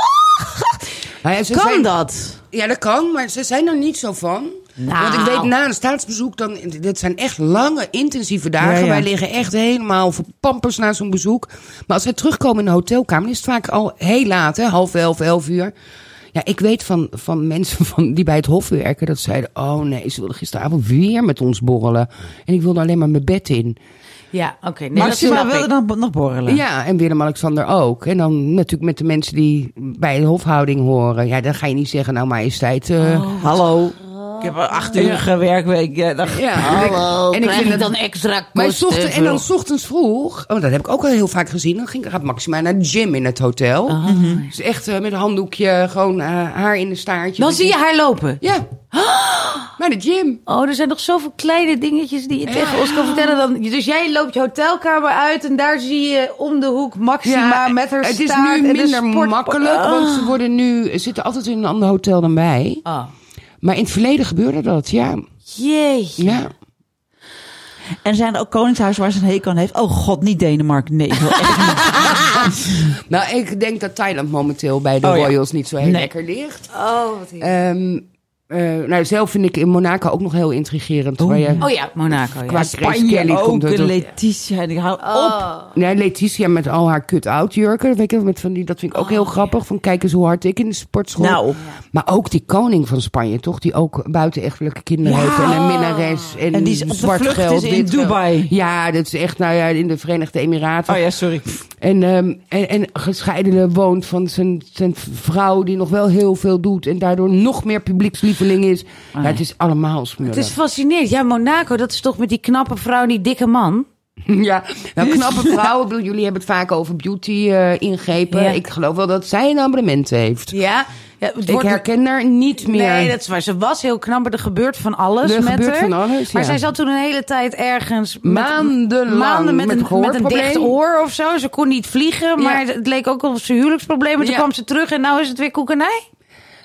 S3: Nou ja, ze
S4: kan
S3: zijn-
S4: dat?
S3: Ja, dat kan, maar ze zijn er niet zo van.
S4: Nou.
S3: Want ik weet, na een staatsbezoek, dan, dit zijn echt lange, intensieve dagen.
S2: Ja, ja.
S3: Wij liggen echt helemaal voor pampers na zo'n bezoek. Maar als wij terugkomen in de hotelkamer, is het vaak al heel laat, hè, half elf, elf uur. Ja, ik weet van, van mensen van, die bij het Hof werken, dat zeiden... oh nee, ze wilden gisteravond weer met ons borrelen. En ik wilde alleen maar mijn bed in.
S4: Ja, oké. nee, dat
S2: Maxima
S4: snap ik.
S2: wilde dan bo- nog borrelen.
S3: Ja, en Willem-Alexander ook. En dan natuurlijk met de mensen die bij de hofhouding horen. Ja, dan ga je niet zeggen, nou majesteit... eh,
S2: Hallo. Ik heb een acht uur werkweek. eh, Ja, dag.
S3: Ja,
S4: Hallo,
S3: en ik
S4: krijg
S3: vind
S4: ik
S3: dat-
S4: dan extra
S3: Maar
S4: kosten
S3: zochten, en dan
S4: voor-
S3: s ochtends vroeg, oh, dat heb ik ook al heel vaak gezien. Dan ging, gaat Maxima naar de gym in het hotel.
S4: Ah.
S3: Dus echt eh, met een handdoekje, gewoon eh, haar in een staartje.
S4: Dan zie je haar lopen.
S3: Ja. Naar de gym.
S4: Oh, er zijn nog zoveel kleine dingetjes die je tegen ons kan vertellen. Dan, dus jij loopt je hotelkamer uit en daar zie je om de hoek Maxima met haar
S3: eh, het is
S4: staart
S3: nu
S4: en de
S3: minder
S4: sport-
S3: makkelijk,
S4: Ah.
S3: want ze worden nu, zitten altijd in een ander hotel dan wij.
S4: Ah.
S3: Maar in het verleden gebeurde dat, ja.
S4: Jee.
S3: ja.
S2: En zijn er ook koningshuizen waar ze een hekel aan heeft? Oh god, niet Denemarken. Nee, ik wil echt niet.
S3: Nou, ik denk dat Thailand momenteel bij de
S2: Oh, ja.
S3: Royals niet zo heel
S2: Nee.
S3: lekker ligt.
S4: Oh, wat hier.
S3: Ehm, eh, nou, zelf vind ik in Monaco ook nog heel intrigerend. waar je-
S4: Oh ja, Monaco. Ja.
S3: Qua Grace Kelly
S2: ook,
S3: komt het
S2: een
S3: ook.
S2: Letitia. En ik hou op.
S3: Nee, Letitia met al haar cut-out jurken. Weet je, met van die, dat vind ik ook heel grappig. Van kijk eens hoe hard ik in de sportschool.
S2: Oh, Nou.
S3: Maar ook die koning van Spanje, toch? Die ook buitenechtelijke kinderen
S2: Ja.
S3: heeft. En een minnares. En,
S2: En die is op de
S3: zwart
S2: vlucht
S3: geld,
S2: is in
S3: wit geld.
S2: Dubai.
S3: Ja, dat is echt, nou ja, in de Verenigde Emiraten.
S2: Oh ja, sorry.
S3: En, ehm, en, en gescheidene woont van zijn, zijn vrouw, die nog wel heel veel doet. En daardoor nog meer publiekslieveling is.
S2: Oh,
S3: Ja, het is allemaal smullen.
S4: Het is fascinerend. Ja, Monaco, dat is toch met die knappe vrouw, en die dikke man.
S3: Ja, nou, knappe vrouwen. Ik bedoel, jullie hebben het vaak over beauty-ingrepen.
S4: Ja.
S3: Ik geloof wel dat zij een abonnement heeft.
S4: Ja, ja het
S3: Ik
S4: wordt-
S3: herken haar niet meer.
S4: Nee, dat is waar. Ze was heel knap, maar er gebeurt van alles
S3: Er
S4: met
S3: gebeurt
S4: haar.
S3: van alles,
S4: Maar
S3: ja.
S4: zij zat toen een hele tijd ergens... met-
S3: Maandenlang
S4: maanden met,
S3: met
S4: een, met een
S3: gehoorprobleem.
S4: dicht oor of zo. Ze kon niet vliegen, maar het leek ook alsof ze huwelijksproblemen. Toen
S3: Ja.
S4: kwam ze terug en nou is het weer koekenij.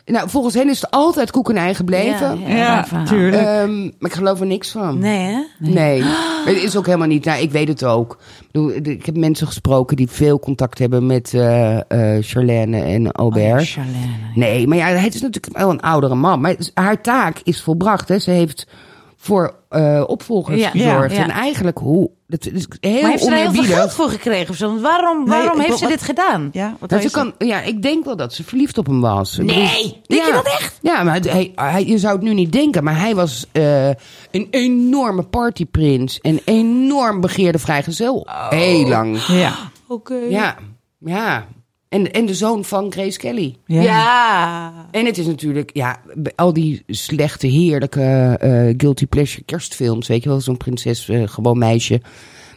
S3: Nou, volgens hen is het altijd koek en ei gebleven.
S4: Ja,
S2: Ja,
S4: raar verhaal.
S2: tuurlijk.
S3: Ehm, maar ik geloof er niks van.
S4: Nee, hè?
S3: Nee, Maar het is ook helemaal niet. Nou, ik weet het ook. Ik, bedoel, ik heb mensen gesproken die veel contact hebben met eh, eh, Charlène en
S4: Oh
S3: Aubert.
S4: Charlène.
S3: Nee, maar ja, het is natuurlijk wel een oudere man. Maar het is- haar taak is volbracht. Hè. Ze heeft voor eh, opvolgers
S4: Ja,
S3: gezorgd.
S4: ja.
S3: En eigenlijk hoe... Dat is heel
S4: Maar heeft ze daar heel veel
S3: oneerbiedig.
S4: geld voor gekregen of zo? Want waarom, waarom
S2: ik
S4: heeft ze
S2: wil-
S4: dit gedaan?
S2: Ja, wat
S3: Dat
S2: wou je
S3: ze kan, ja, ik denk wel dat ze verliefd op hem was. Ik
S4: Nee,
S3: bedoel-
S4: denk je
S3: Ja.
S4: dat echt?
S3: Ja, maar het- hij, hij- je zou het nu niet denken, maar hij was eh, een enorme partyprins. en enorm begeerde vrijgezel. Heel lang.
S2: zeggen? Ja.
S4: Oh. Oké.
S3: Ja, ja. En, en de zoon van Grace Kelly.
S2: Ja.
S4: Ja.
S3: En het is natuurlijk, ja, bij al die slechte, heerlijke eh, guilty pleasure kerstfilms. Weet je wel, zo'n prinses, eh, gewoon meisje.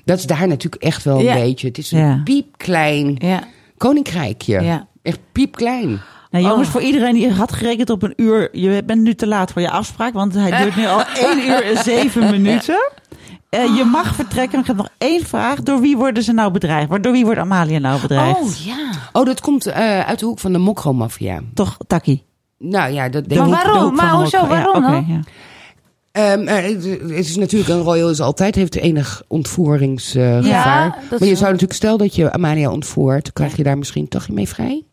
S3: Dat is daar natuurlijk echt wel een
S4: Ja.
S3: beetje. Het is een
S2: Ja.
S3: piepklein
S4: Ja.
S3: koninkrijkje.
S4: Ja.
S3: Echt piepklein.
S2: Nou,
S4: Oh.
S2: jongens, voor iedereen die had gerekend op een uur. Je bent nu te laat voor je afspraak, want
S4: Eh.
S2: hij duurt nu al 1 uur en 7 minuten. Eh, je mag vertrekken. Ik heb nog één vraag. Door wie worden ze nou bedreigd? Waar- Door wie wordt Amalia nou bedreigd?
S4: Oh ja.
S3: Oh, dat komt eh, uit de hoek van de mokromafia.
S2: Toch, Taki.
S3: Nou ja, dat denk
S4: Maar
S3: ik.
S4: waarom? Oh, Maar hoezo? Waarom
S2: ja,
S4: dan?
S2: oké, ja.
S3: Ehm, eh, het- het is natuurlijk een royal is altijd heeft enig ontvoeringsgevaar.
S4: Ja, dat
S3: maar
S4: is
S3: je
S4: wel-
S3: zou natuurlijk stel dat je Amalia ontvoert, krijg je daar misschien toch mee vrij?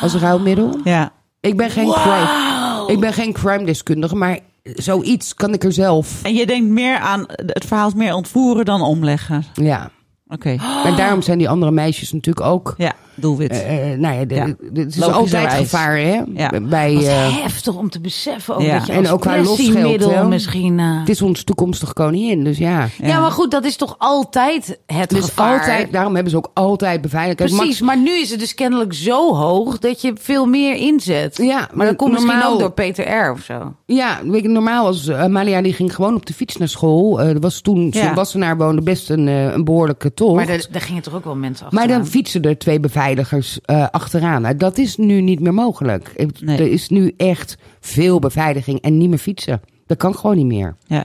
S3: Als ruilmiddel?
S2: Ja.
S3: Ik ben geen crime. Ik ben geen crime deskundige, maar zoiets kan ik er zelf.
S2: En je denkt meer aan het verhaal is meer ontvoeren dan omleggen.
S3: Ja.
S2: Oké.
S3: Maar daarom zijn die andere meisjes natuurlijk ook.
S2: Ja, doelwit.
S3: eh, eh, nou ja, de-
S2: Ja.
S3: de- de- het is
S2: Logischerwijs.
S3: altijd gevaar, hè?
S2: Ja.
S3: Bij,
S4: Wat
S3: eh,
S4: heftig om te beseffen ook
S2: Ja.
S4: dat je
S3: En
S4: als
S3: ook haar losgeld,
S4: pressiemiddel
S3: hè?
S4: misschien... eh,
S3: het is onze toekomstige koningin, dus ja.
S4: ja. maar goed, dat is toch altijd het
S3: Dus
S4: gevaar?
S3: altijd, daarom hebben ze ook altijd beveiliging.
S4: Precies, maar nu is het dus kennelijk zo hoog dat je veel meer inzet.
S3: Ja,
S4: maar dat komt misschien
S3: normaal-
S4: ook door Peter R. of zo.
S3: Ja, weet je, normaal was eh, Amalia die ging gewoon op de fiets naar school. Eh, Er was toen,
S2: Ja.
S3: ze was naar woonde, best een, eh, een behoorlijke tocht.
S4: Maar daar, daar gingen toch ook wel mensen achter.
S3: Maar dan fietsen er twee beveiligers eh, achteraan. Nou, dat is nu niet meer mogelijk. Het-
S2: Nee.
S3: Er is nu echt veel beveiliging en niet meer fietsen. Dat kan gewoon niet meer.
S2: ja.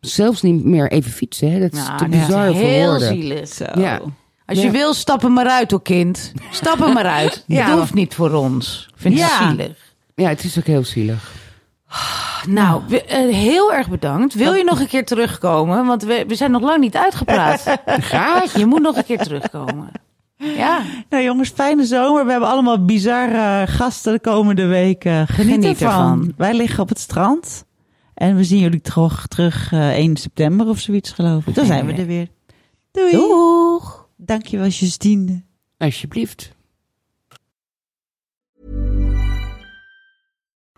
S3: Zelfs niet meer even fietsen. Hè. Dat is
S4: Nou,
S3: te
S4: dat is
S3: bizar voor
S4: heel
S3: woorden.
S4: zielig.
S3: Ja.
S4: Als je
S3: Ja.
S4: wil, stap hem maar uit, hoor kind. Stap hem maar uit.
S3: Ja.
S4: Dat hoeft niet voor ons. Ik Vind het
S2: Ja.
S4: zielig.
S3: ja, het is ook heel zielig.
S4: Nou, we- eh, heel erg bedankt. Wil je nog een keer terugkomen? Want we, we zijn nog lang niet uitgepraat.
S3: Graag.
S4: Je moet nog een keer terugkomen. Ja,
S2: Nou jongens, fijne zomer. We hebben allemaal bizarre gasten de komende weken. Geniet,
S4: Geniet
S2: ervan.
S4: ervan.
S2: Wij liggen op het strand. En we zien jullie terug, terug eh, 1 september of zoiets geloof ik. Dan zijn we er weer. Doei.
S4: doeg.
S2: Dankjewel Justine.
S3: Alsjeblieft.